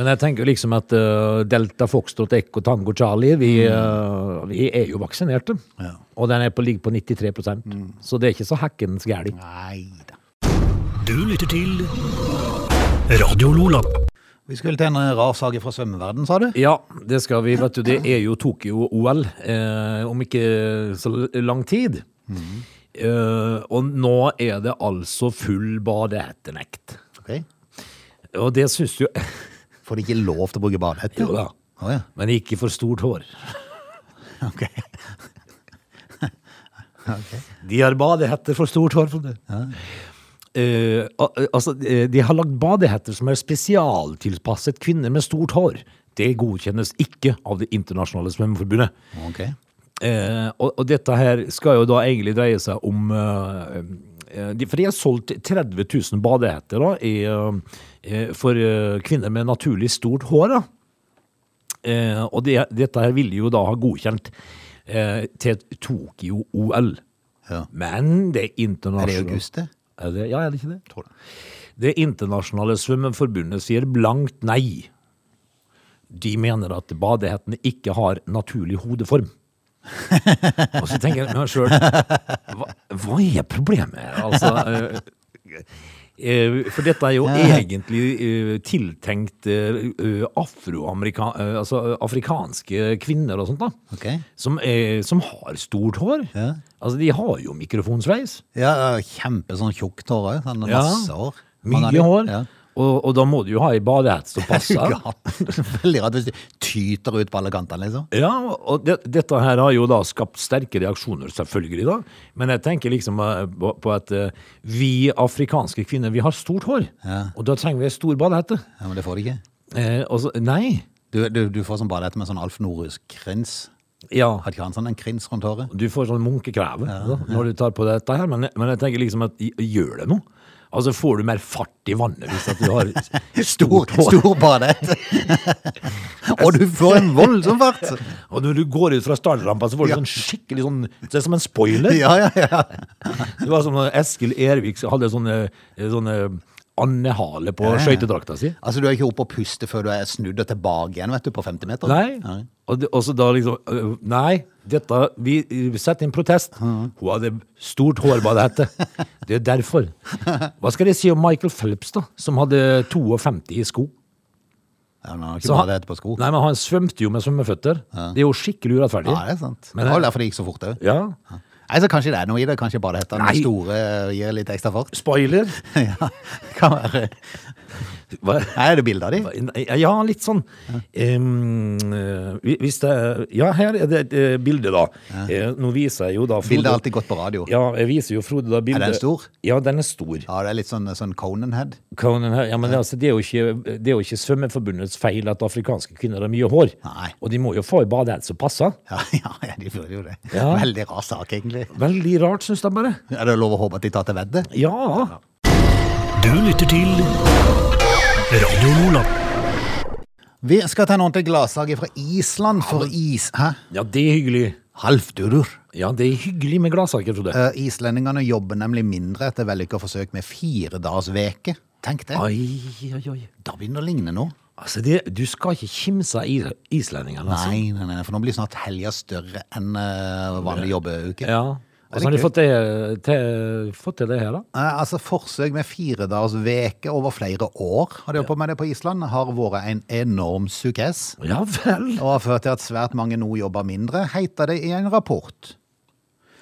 [SPEAKER 2] Men jeg tenker jo liksom at eh, Delta, Foxtrot, Echo, Tango, Charlie, vi, eh, vi er jo vaksinerte.
[SPEAKER 1] Mm. Ja. Mm.
[SPEAKER 2] Og den er på, ligger på 93 Så det er ikke så hackens gæli.
[SPEAKER 1] Nei da.
[SPEAKER 3] Du lytter til Radio Lola.
[SPEAKER 1] Vi skulle til en eh, rar sak fra svømmeverden, sa du?
[SPEAKER 2] Ja, det skal vi. Vet du, det er jo Tokyo-OL eh, om ikke så lang tid. Eh, og nå er det altså full badehettenekt.
[SPEAKER 1] Ok.
[SPEAKER 2] Og det syns jo
[SPEAKER 1] Får de ikke lov til å bruke badehette?
[SPEAKER 2] Jo da.
[SPEAKER 1] Å ja.
[SPEAKER 2] Men ikke for stort hår.
[SPEAKER 1] Ok.
[SPEAKER 2] De har badehetter for stort hår. for det. Eh, al- altså, eh, de har lagd badehetter som er spesialtilpasset kvinner med stort hår. Det godkjennes ikke av Det internasjonale svømmeforbundet.
[SPEAKER 1] Ok.
[SPEAKER 2] Eh, og, og dette her skal jo da egentlig dreie seg om eh, eh, de, For de har solgt 30 000 badehetter da, i, eh, eh, for eh, kvinner med naturlig stort hår. Da. Eh, og det, dette her ville jo da ha godkjent eh, til Tokyo-OL.
[SPEAKER 1] Ja.
[SPEAKER 2] Men
[SPEAKER 1] Er det
[SPEAKER 2] det
[SPEAKER 1] i
[SPEAKER 2] internasjonale
[SPEAKER 1] august, det?
[SPEAKER 2] Er det- Ja, er det ikke det? Det internasjonale svømmeforbundet sier blankt nei. De mener at badehettene ikke har naturlig hodeform. Og så tenker jeg meg sjøl hva, hva er problemet? her? Altså, eh, eh, for dette er jo egentlig eh, tiltenkt eh, eh, afroamerika... eh, altså eh, afrikanske kvinner og sånt, da.
[SPEAKER 1] Ok.
[SPEAKER 2] Som, eh, som har stort hår.
[SPEAKER 1] Ja.
[SPEAKER 2] Altså, de har jo mikrofonsveis.
[SPEAKER 1] Ja, ja, kjempe sånn tjukt hår òg. Sånn
[SPEAKER 2] Ja.
[SPEAKER 1] masse hår. Man har
[SPEAKER 2] Mye
[SPEAKER 1] det-
[SPEAKER 2] hår.
[SPEAKER 1] Ja.
[SPEAKER 2] Og, og da må du jo ha ei badehett som passer.
[SPEAKER 1] Ja, Veldig rart hvis du tyter ut på alle kantene, liksom.
[SPEAKER 2] Ja, og det, dette her har jo da skapt sterke reaksjoner, selvfølgelig, da. Men jeg tenker liksom eh, på, på at eh, vi afrikanske kvinner, vi har stort hår. Og da trenger vi ei stor badehette.
[SPEAKER 1] Ja, Men det får du ikke.
[SPEAKER 2] Eh, og så, nei.
[SPEAKER 1] Du, du, du får sånn badehette med sånn Alf Norhus-krins.
[SPEAKER 2] Ja.
[SPEAKER 1] Har ikke han sånn en krins rundt håret?
[SPEAKER 2] Du får sånn munkekræve da, når du tar på dette her, men, men jeg tenker liksom at i- gjør det noe? Altså, får du mer fart i vannet hvis at du har
[SPEAKER 1] Stor, stor badehette! Og du får en voldsom fart!
[SPEAKER 2] Og når du går ut fra startrampa, så får du
[SPEAKER 1] Ja.
[SPEAKER 2] sånn skikkelig sånn Det er som en spoiler.
[SPEAKER 1] Ja, ja, ja.
[SPEAKER 2] Det var som når Eskil Ervik hadde sånne, sånne andehale på skøytedrakta si.
[SPEAKER 1] Altså, du er ikke oppe og puste før du er snudd og tilbake igjen, vet du, på 50 meter.
[SPEAKER 2] Nei. Og, det, og så da liksom øh, Nei, dette Vi øh, setter inn protest. Hun hadde stort hårbadehette. Det er derfor. Hva skal de si om Michael Phelps, da? Som hadde 52 i sko.
[SPEAKER 1] Ja, men han har
[SPEAKER 2] Så
[SPEAKER 1] ikke
[SPEAKER 2] han-
[SPEAKER 1] badehette på sko.
[SPEAKER 2] Nei, men han svømte jo med svømmeføtter. Det er jo skikkelig urettferdig.
[SPEAKER 1] Ja, det er sant.
[SPEAKER 2] Men
[SPEAKER 1] det var
[SPEAKER 2] jeg-
[SPEAKER 1] jo derfor det gikk så fort òg.
[SPEAKER 2] Ja.
[SPEAKER 1] Nei, så kanskje det er noe i det. Kanskje badehettene
[SPEAKER 2] Nei.
[SPEAKER 1] store gir litt ekstra fart.
[SPEAKER 2] Spoiler.
[SPEAKER 1] ja, kan være.
[SPEAKER 2] Hva?
[SPEAKER 1] Nei, er det bilde av de?
[SPEAKER 2] Ja, litt sånn. Em, eh, hvis det, ja, her er det et eh, bilde, da. Eh, Nå viser jeg jo da Frode
[SPEAKER 1] Bildet er alltid godt på radio.
[SPEAKER 2] Ja, jeg viser jo Frode da bildet.
[SPEAKER 1] Er den stor?
[SPEAKER 2] Ja, den er stor.
[SPEAKER 1] Ja, det er litt sånn, sånn Conan-head.
[SPEAKER 2] Conan her, ja, men altså, det, er jo ikke, det er jo ikke Svømmeforbundets feil at afrikanske kvinner har mye hår.
[SPEAKER 1] Nei.
[SPEAKER 2] Og de må jo få i badehette som passer.
[SPEAKER 1] Ja, ja, ja, de føler jo det.
[SPEAKER 2] Ja.
[SPEAKER 1] Veldig rar sak, egentlig.
[SPEAKER 2] Veldig rart, syns jeg bare.
[SPEAKER 1] Er det lov å håpe at de tar til vedde?
[SPEAKER 2] Ja.
[SPEAKER 3] Du lytter til Radio Lola.
[SPEAKER 1] Vi skal ta en ordentlig gladsak fra Island for is... Hæ?
[SPEAKER 2] ja, det er hyggelig.
[SPEAKER 1] Halvdurer.
[SPEAKER 2] Ja, det er hyggelig med gladsaker, Frode.
[SPEAKER 1] Eh, Islendingene jobber nemlig mindre etter vellykka forsøk med firedagsveke. Tenk det.
[SPEAKER 2] Ai, ai, ai.
[SPEAKER 1] Da begynner det å ligne noe.
[SPEAKER 2] Altså, det, du skal ikke kimse av is- islendingene, altså.
[SPEAKER 1] Nei, nei, nei, for nå blir snart helga større enn eh, vanlig jobbeuke.
[SPEAKER 2] Ja.
[SPEAKER 1] Er det
[SPEAKER 2] Og så har de
[SPEAKER 1] gøy?
[SPEAKER 2] fått det, til, fått til det her, da.
[SPEAKER 1] Eh, altså Forsøk med firedagsveke over flere år har de holdt på med det på Island, har vært en enorm suksess.
[SPEAKER 2] Ja vel.
[SPEAKER 1] og har ført til at svært mange nå jobber mindre, heter det i en rapport.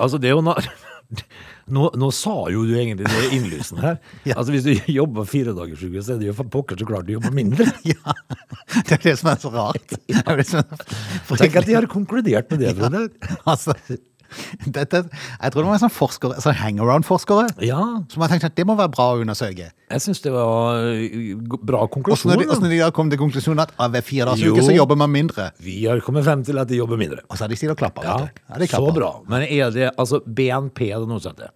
[SPEAKER 2] Altså, det er jo na nå, nå sa jo du egentlig det innlysende her.
[SPEAKER 1] Ja.
[SPEAKER 2] Altså, Hvis du jobber firedagersuke, så er det jo for pokker så klart du jobber mindre.
[SPEAKER 1] Ja, Det er det som er så rart. Det er det som er
[SPEAKER 2] Tenk at de har konkludert med det. Frode.
[SPEAKER 1] altså, dette, Jeg tror det var en sånn, forskere, sånn hangaround-forskere
[SPEAKER 2] Ja,
[SPEAKER 1] som har tenkt at det må være bra å undersøke.
[SPEAKER 2] jeg syns det var ø, g- bra
[SPEAKER 1] Og så
[SPEAKER 2] konklusjon.
[SPEAKER 1] når de, og så
[SPEAKER 2] da.
[SPEAKER 1] når de da kom til konklusjonen at ah, ved fire dagers
[SPEAKER 2] Jo.
[SPEAKER 1] uke så jobber man mindre.
[SPEAKER 2] Vi har kommet frem til at de jobber mindre.
[SPEAKER 1] Og så har de stilt og klappa.
[SPEAKER 2] Ja,
[SPEAKER 1] vet du. Ja, de
[SPEAKER 2] så
[SPEAKER 1] klapper.
[SPEAKER 2] bra. Men er det altså BNP det nå heter?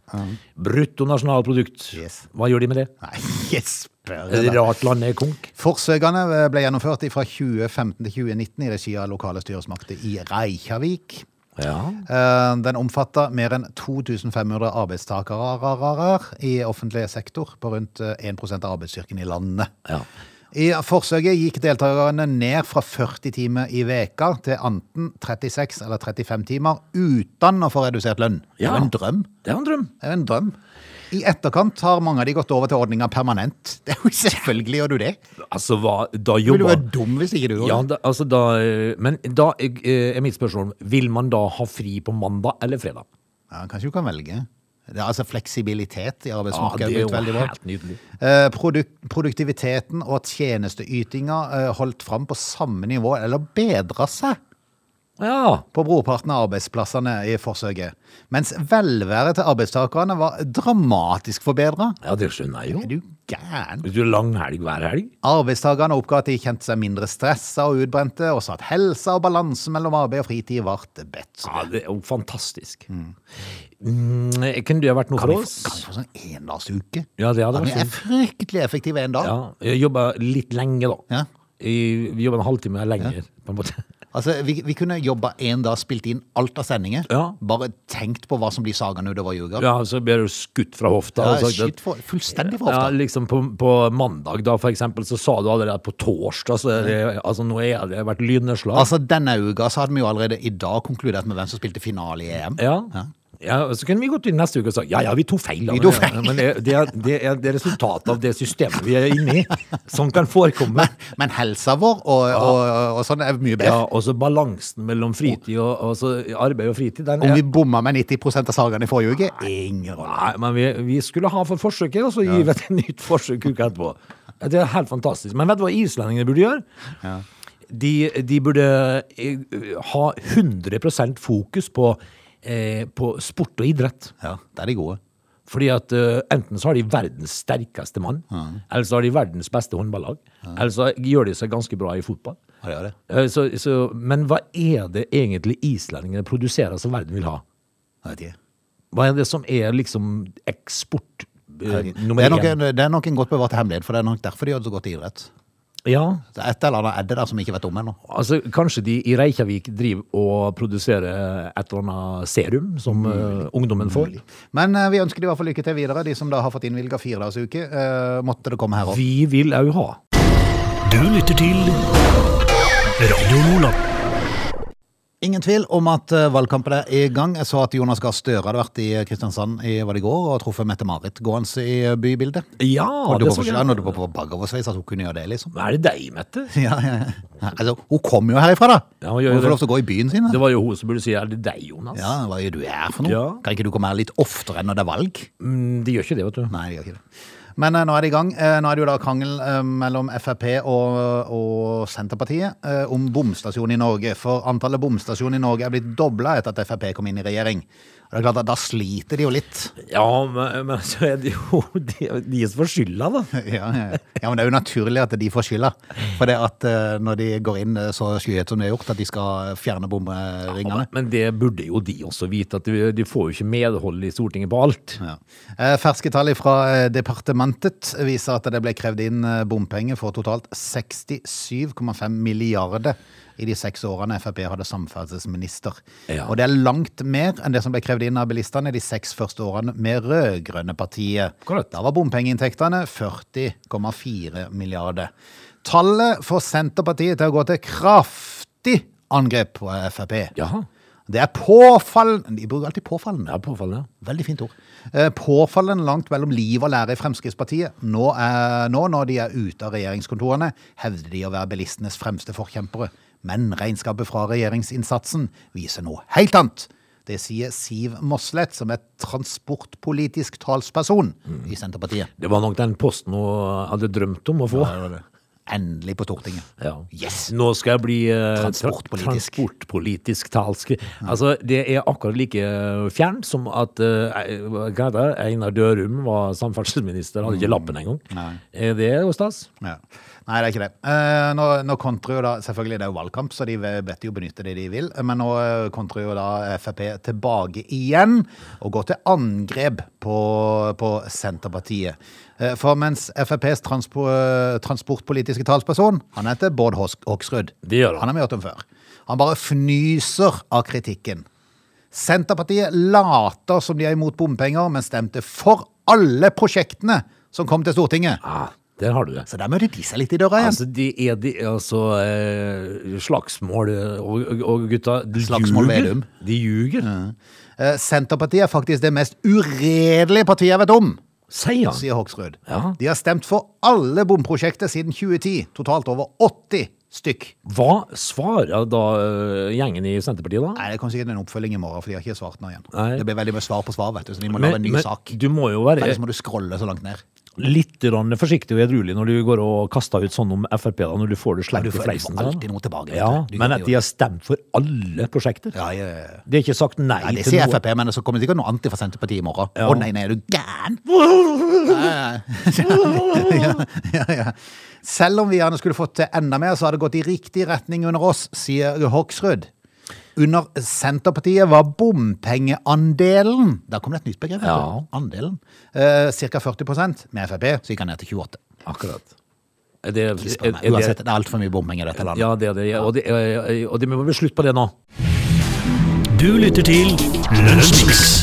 [SPEAKER 2] Bruttonasjonalprodukt.
[SPEAKER 1] Yes.
[SPEAKER 2] Hva gjør de med det?
[SPEAKER 1] Nei, jesper.
[SPEAKER 2] Er det rart landet er konk?
[SPEAKER 1] Forsøkene ble gjennomført fra 2015 til 2019 i regi av lokale styresmakter i Reykjavik.
[SPEAKER 2] Ja.
[SPEAKER 1] Eh, Den omfatter mer enn 2500 arbeidstakere i offentlig sektor på rundt eh, 1 av arbeidsstyrken i landet.
[SPEAKER 2] Ja.
[SPEAKER 1] I forsøket gikk deltakerne ned fra 40 timer i veka til enten 36 eller 35 timer uten å få redusert lønn. Det
[SPEAKER 2] Ja.
[SPEAKER 1] er jo en drøm.
[SPEAKER 2] Det er en drøm.
[SPEAKER 1] Det er jo en drøm. I etterkant har mange av de gått over til ordninga permanent. Det er jo selvfølgelig gjør du det.
[SPEAKER 2] Altså, hva,
[SPEAKER 1] Du
[SPEAKER 2] da
[SPEAKER 1] ville
[SPEAKER 2] jobber
[SPEAKER 1] vært dum hvis ikke du gjorde
[SPEAKER 2] Ja,
[SPEAKER 1] det.
[SPEAKER 2] da, altså da eh, Men da eh, er mitt spørsmål Vil man da ha fri på mandag eller fredag?
[SPEAKER 1] Ja, kanskje du kan velge. Det er altså fleksibilitet i
[SPEAKER 2] Ja,
[SPEAKER 1] arbeidsmarkedet.
[SPEAKER 2] det
[SPEAKER 1] blitt
[SPEAKER 2] er jo
[SPEAKER 1] veldig bra.
[SPEAKER 2] helt nydelig.
[SPEAKER 1] Eh, Produk produktiviteten og tjenesteytinga eh, holdt fram på samme nivå, eller bedra seg.
[SPEAKER 2] Ja.
[SPEAKER 1] på brorparten av arbeidsplassene i forsøket, mens velværet til arbeidstakerne var dramatisk forbedra.
[SPEAKER 2] ja, det skjønner jeg
[SPEAKER 1] Er
[SPEAKER 2] jo.
[SPEAKER 1] du gæren?
[SPEAKER 2] Hvis du er lang helg hver helg.
[SPEAKER 1] Arbeidstakerne oppga at de kjente seg mindre stressa og utbrente, og sa at helsa og balansen mellom arbeid og fritid ble bedre.
[SPEAKER 2] Ja, det er jo fantastisk. Mm, kunne det ha vært noe
[SPEAKER 1] Kan
[SPEAKER 2] for
[SPEAKER 1] vi
[SPEAKER 2] oss?
[SPEAKER 1] få- kan vi få sånn endagsuke?
[SPEAKER 2] Ja, det hadde
[SPEAKER 1] At vi
[SPEAKER 2] vært
[SPEAKER 1] er
[SPEAKER 2] fint.
[SPEAKER 1] fryktelig effektive en dag.
[SPEAKER 2] Ja, jeg jobba litt lenge, da.
[SPEAKER 1] Ja.
[SPEAKER 2] Jeg- Vi jobba en halvtime lenger, på en måte.
[SPEAKER 1] Altså, vi, vi kunne jobba en dag, spilt inn alt av sendinger,
[SPEAKER 2] Ja.
[SPEAKER 1] bare tenkt på hva som blir sagaen utover juga.
[SPEAKER 2] Ja, så ble du skutt fra hofta.
[SPEAKER 1] Ja,
[SPEAKER 2] og sagt at-
[SPEAKER 1] skyt for- fullstendig for
[SPEAKER 2] Ja,
[SPEAKER 1] hofta.
[SPEAKER 2] liksom på, på mandag, da, for eksempel, så sa du allerede på torsdag så er det, Altså, nå er det vært lynnedslag.
[SPEAKER 1] Altså, denne uka så hadde vi jo allerede i dag konkludert med hvem som spilte finale i EM.
[SPEAKER 2] Ja. ja. og Så kunne vi gått inn neste uke og sagt ja, ja, vi tok feil. da."
[SPEAKER 1] Vi tok feil.
[SPEAKER 2] Men det, det, er, det er det resultatet av det systemet vi er inne i. Sånn kan forekomme.
[SPEAKER 1] Men helsa vår og, og, og, sånn er mye bedre.
[SPEAKER 2] Ja, og så balansen mellom fritid og, og så arbeid og fritid. Den
[SPEAKER 1] Om
[SPEAKER 2] er,
[SPEAKER 1] vi bomma med 90 av sagaene i forrige uke, ingen rolle.
[SPEAKER 2] nei, men vi, vi skulle ha for forsøket, og så gir vi et nytt forsøk uka etterpå. Det er helt fantastisk. Men vet du hva islendingene burde gjøre? De, de burde eh, ha 100 fokus på, eh, på sport og idrett.
[SPEAKER 1] Ja, det er de gode.
[SPEAKER 2] Fordi at eh, enten så har de verdens sterkeste mann, eller så har de verdens beste håndballag, eller så gjør de seg ganske bra i fotball.
[SPEAKER 1] Ja, det er det.
[SPEAKER 2] Eh, Så, så, men hva er det egentlig islendingene produserer som verden vil ha?
[SPEAKER 1] Jeg vet ikke.
[SPEAKER 2] Hva er det som er liksom eksport eh,
[SPEAKER 1] Det
[SPEAKER 2] nummer
[SPEAKER 1] er, nok
[SPEAKER 2] én?
[SPEAKER 1] en, det er nok en godt bevart hemmelighet, for det er nok derfor de gjør det så godt i idrett.
[SPEAKER 2] Ja,
[SPEAKER 1] Det er et eller annet er det der som vi ikke vet om ennå.
[SPEAKER 2] altså kanskje de i Reykjavik driver og produserer et eller annet serum som eh, ungdommen får.
[SPEAKER 1] Men eh, vi ønsker de i hvert fall lykke til videre, de som da har fått innvilga firedagsuke. eh, måtte det komme her òg.
[SPEAKER 2] Vi vil òg ha.
[SPEAKER 3] Du lytter til Radio Nordland.
[SPEAKER 1] Ingen tvil om at eh, valgkampen er i gang. Jeg så at Jonas Gahr Støre hadde vært i Kristiansand i var det i går og truffet Mette-Marit gående i eh, bybildet.
[SPEAKER 2] Ja,
[SPEAKER 1] Og det
[SPEAKER 2] det
[SPEAKER 1] var
[SPEAKER 2] så
[SPEAKER 1] ikke
[SPEAKER 2] jeg.
[SPEAKER 1] når du var på bakoversveis at hun kunne gjøre det, liksom.
[SPEAKER 2] Er det deg, Mette?
[SPEAKER 1] Ja, ja, ja. Altså, hun kom jo herifra, da.
[SPEAKER 2] Ja, hun gjør
[SPEAKER 1] hun
[SPEAKER 2] det.
[SPEAKER 1] får lov til å gå i byen sin.
[SPEAKER 2] Det
[SPEAKER 1] Da.
[SPEAKER 2] var jo hun som burde si er det deg, Jonas?
[SPEAKER 1] Ja, hva er du her for noe?
[SPEAKER 2] Ja.
[SPEAKER 1] Kan ikke du komme her litt oftere enn når det er valg?
[SPEAKER 2] Mm, de gjør ikke det, vet du.
[SPEAKER 1] Nei, det gjør ikke det. Men eh, nå er det i gang. Eh, nå er det jo da krangel eh, mellom Frp og, og Senterpartiet eh, om bomstasjoner i Norge. For antallet bomstasjoner i Norge er blitt dobla etter at Frp kom inn i regjering. Og det er klart at Da sliter de jo litt.
[SPEAKER 2] Ja, men, men så er det jo de, de som får skylda, da.
[SPEAKER 1] Ja, ja, ja. ja, men det er jo naturlig at de får skylda. For det at eh, når de går inn eh, så skyhøyt som de har gjort, at de skal fjerne bomringene.
[SPEAKER 2] Men det burde jo de også vite, at de, de får jo ikke medhold i Stortinget på alt.
[SPEAKER 1] Ja. Eh, Ferske tall fra eh, departementet viser at det ble krevd inn eh, bompenger for totalt 67,5 milliarder i de seks årene Frp hadde samferdselsminister.
[SPEAKER 2] Ja.
[SPEAKER 1] Og det er langt mer enn det som ble krevd inn av bilistene de seks første årene med rød-grønne partiet.
[SPEAKER 2] Korrekt.
[SPEAKER 1] Da var bompengeinntektene 40,4 milliarder. Tallet får Senterpartiet til å gå til kraftig angrep på Frp.
[SPEAKER 2] Jaha.
[SPEAKER 1] Det er påfallende De bruker alltid påfallende.
[SPEAKER 2] Det er påfallende.
[SPEAKER 1] Veldig fint ord. Eh, Påfallende langt mellom liv og lære i Fremskrittspartiet. Nå, er, nå når de er ute av regjeringskontorene, hevder de å være bilistenes fremste forkjempere. Men regnskapet fra regjeringsinnsatsen viser noe helt annet. Det sier Siv Mossleth, som er transportpolitisk talsperson i Senterpartiet.
[SPEAKER 2] Det var nok den posten hun hadde drømt om å få.
[SPEAKER 1] Endelig på Stortinget.
[SPEAKER 2] Ja.
[SPEAKER 1] Yes!
[SPEAKER 2] Nå skal jeg bli eh, tra-
[SPEAKER 1] Transportpolitisk.
[SPEAKER 2] transportpolitisk talsk. Altså, det er akkurat like fjernt som at eh, hva heter det? Einar Dørum var samferdselsminister, hadde ikke lappen engang.
[SPEAKER 1] Mm. Nei.
[SPEAKER 2] Er Det er jo stas.
[SPEAKER 1] Ja. Nei, det er ikke det. Eh, nå, nå kontrer jo da, selvfølgelig det er jo valgkamp, så de vet jo benytte det de vil, men nå eh, kontrer jo da Frp tilbake igjen og går til angrep på, på Senterpartiet. Eh, For mens FrPs transpo, eh, transportpolitiske talsperson, han heter Bård Hos- Hoksrud.
[SPEAKER 2] Det gjør han.
[SPEAKER 1] Han har vi hørt om før. Han bare fnyser av kritikken. Senterpartiet later som de er imot bompenger, men stemte for alle prosjektene som kom til Stortinget.
[SPEAKER 2] Ah, der har du det.
[SPEAKER 1] Så der møter de seg litt i døra igjen.
[SPEAKER 2] Altså, de er de, altså eh, Slagsmål eh, og, og gutta de
[SPEAKER 1] Slagsmål
[SPEAKER 2] ljuger.
[SPEAKER 1] Vedum.
[SPEAKER 2] De ljuger,
[SPEAKER 1] Eh, Senterpartiet er faktisk det mest uredelige partiet jeg vet om,
[SPEAKER 2] sier han.
[SPEAKER 1] sier Hoksrud.
[SPEAKER 2] Ja.
[SPEAKER 1] De har stemt for alle bomprosjekter siden 2010, totalt over 80 stykk.
[SPEAKER 2] Hva svarer da eh, gjengen i Senterpartiet, da?
[SPEAKER 1] Nei, Det kommer sikkert en oppfølging i morgen, for de har ikke svart nå igjen.
[SPEAKER 2] Nei. Eh,
[SPEAKER 1] Det liksom- blir veldig mye svar på svar, vet du, så de må lage en ny sak.
[SPEAKER 2] du må jo være
[SPEAKER 1] Ellers må du scrolle så langt ned.
[SPEAKER 2] litt grann forsiktig og edruelig når du går og kaster ut sånn om Frp, da, når du får det
[SPEAKER 1] Ja,
[SPEAKER 2] slengt
[SPEAKER 1] du
[SPEAKER 2] i
[SPEAKER 1] får- du
[SPEAKER 2] fleisen.
[SPEAKER 1] får
[SPEAKER 2] da.
[SPEAKER 1] alltid noe tilbake, vet
[SPEAKER 2] Ja,
[SPEAKER 1] du. Du
[SPEAKER 2] men
[SPEAKER 1] gjør
[SPEAKER 2] at
[SPEAKER 1] det
[SPEAKER 2] de har stemt for alle prosjekter.
[SPEAKER 1] Ja, ja, ja. ja.
[SPEAKER 2] De har ikke sagt nei,
[SPEAKER 1] Nei, det
[SPEAKER 2] til
[SPEAKER 1] sier
[SPEAKER 2] noe.
[SPEAKER 1] Frp, men så kommer det sikkert noe annet fra Senterpartiet i morgen. Å
[SPEAKER 2] Ja.
[SPEAKER 1] nei, nei, er du gæren? ja, ja, ja. Selv om vi gjerne skulle fått til enda mer, så har det gått i riktig retning under oss, sier Hoksrud. Under Senterpartiet var bompengeandelen Der kom det et nytt begrep. vet du.
[SPEAKER 2] Ja.
[SPEAKER 1] Andelen. Eh, Ca. 40 Med Frp så gikk han ned til 28
[SPEAKER 2] Akkurat. Er det, er,
[SPEAKER 1] Spør meg.
[SPEAKER 2] er
[SPEAKER 1] Uansett,
[SPEAKER 2] det,
[SPEAKER 1] det er altfor mye bompenger i dette landet.
[SPEAKER 2] ja, det er det. Og det, er- og det må bli slutt på det nå.
[SPEAKER 3] Du lytter til Lunsjmix.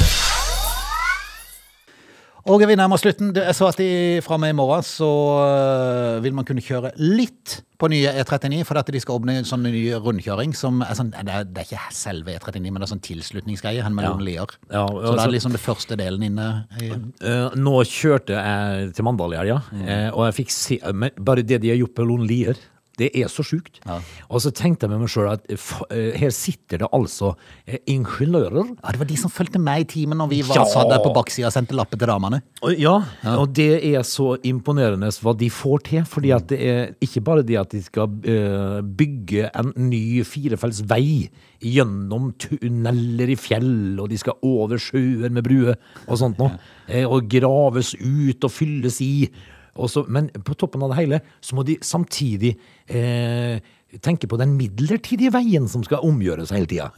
[SPEAKER 1] Og vi nærmer oss slutten. Det- Jeg sa at i- fra og med i morgen så øh, vil man kunne kjøre litt på nye E39, for at de skal åpne en sånn ny rundkjøring som er sånn, det, er, det er ikke selve E39, men det er sånn tilslutningsgreie hen mellom
[SPEAKER 2] Ja.
[SPEAKER 1] Lier.
[SPEAKER 2] Ja,
[SPEAKER 1] så det
[SPEAKER 2] altså-
[SPEAKER 1] er liksom det første delen inne. i-
[SPEAKER 2] Eh, nå kjørte jeg til Mandal i helga,
[SPEAKER 1] Mm.
[SPEAKER 2] eh, og jeg fikk se men Bare det de har gjort på Lon Lier, det er så sjukt. Og så tenkte jeg med meg sjøl at eh, f eh, her sitter det altså eh, ingeniører.
[SPEAKER 1] Ja, det var de som fulgte med i timen når vi var,
[SPEAKER 2] Ja.
[SPEAKER 1] satt der på baksida og sendte lapper til damene.
[SPEAKER 2] Og, ja, og det er så imponerende hva de får til. Fordi at det er ikke bare det at de skal eh, bygge en ny firefelts vei gjennom tunneler i fjell, og de skal over sjøer med bruer og sånt noe. eh, Og graves ut og fylles i. Og så, men på toppen av det hele så må de samtidig eh, tenke på den midlertidige veien som skal omgjøres hele tida.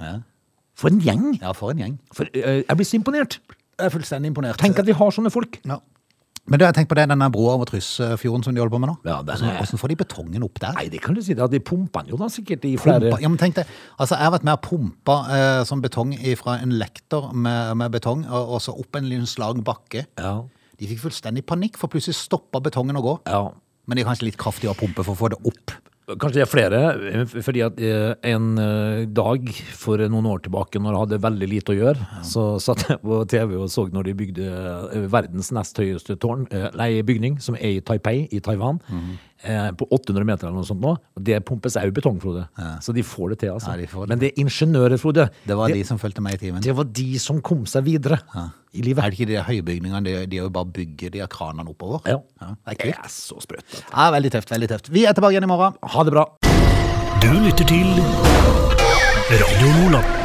[SPEAKER 2] For en gjeng!
[SPEAKER 1] Ja, for en gjeng.
[SPEAKER 2] For, eh, jeg blir så imponert.
[SPEAKER 1] Jeg er fullstendig imponert.
[SPEAKER 2] Tenk at vi har sånne folk.
[SPEAKER 1] ja. Men du, jeg tenker på det, denne broa over Tryssfjorden som de holder på med nå.
[SPEAKER 2] Ja, den
[SPEAKER 1] Hvordan-
[SPEAKER 2] er-
[SPEAKER 1] Hvordan får de betongen opp der?
[SPEAKER 2] Nei, det kan du si. Da. De pumper den jo da sikkert i flere
[SPEAKER 1] Pumpa. Ja, men tenk deg, altså Jeg har vært med og pumpa eh, sånn betong fra en lekter med, med betong, og, og så opp en liten slag bakke.
[SPEAKER 2] Ja.
[SPEAKER 1] De fikk fullstendig panikk, for plutselig stoppa betongen å gå.
[SPEAKER 2] ja.
[SPEAKER 1] Men de er kanskje litt kraftigere å pumpe for å få det opp.
[SPEAKER 2] Kanskje det er flere, eh, fordi at eh, en eh, dag for noen år tilbake, når jeg hadde veldig lite å gjøre, så satt jeg på TV og så når de bygde eh, verdens nest høyeste tårn, eh, nei, bygning, som er i Taipei i Taiwan,
[SPEAKER 1] Mhm.
[SPEAKER 2] eh, på 800 meter eller noe sånt nå. og Det pumpes òg betong, Frode. Så de får det til, altså.
[SPEAKER 1] Ja, de får det.
[SPEAKER 2] Men det er ingeniører, Frode.
[SPEAKER 1] Det var
[SPEAKER 2] det,
[SPEAKER 1] de som fulgte meg i timen.
[SPEAKER 2] det var de som kom seg videre i
[SPEAKER 1] Er
[SPEAKER 2] livet.
[SPEAKER 1] det ikke de høybygningene? De, de er jo bare bygger de har kranene oppover.
[SPEAKER 2] Ja.
[SPEAKER 1] det er
[SPEAKER 2] Det
[SPEAKER 1] kult.
[SPEAKER 2] er så sprøtt. vet
[SPEAKER 1] Ja, veldig tøft. veldig tøft. Vi er tilbake igjen i morgen.
[SPEAKER 2] du. Ha det bra.
[SPEAKER 3] Du lytter til Radio Nordland.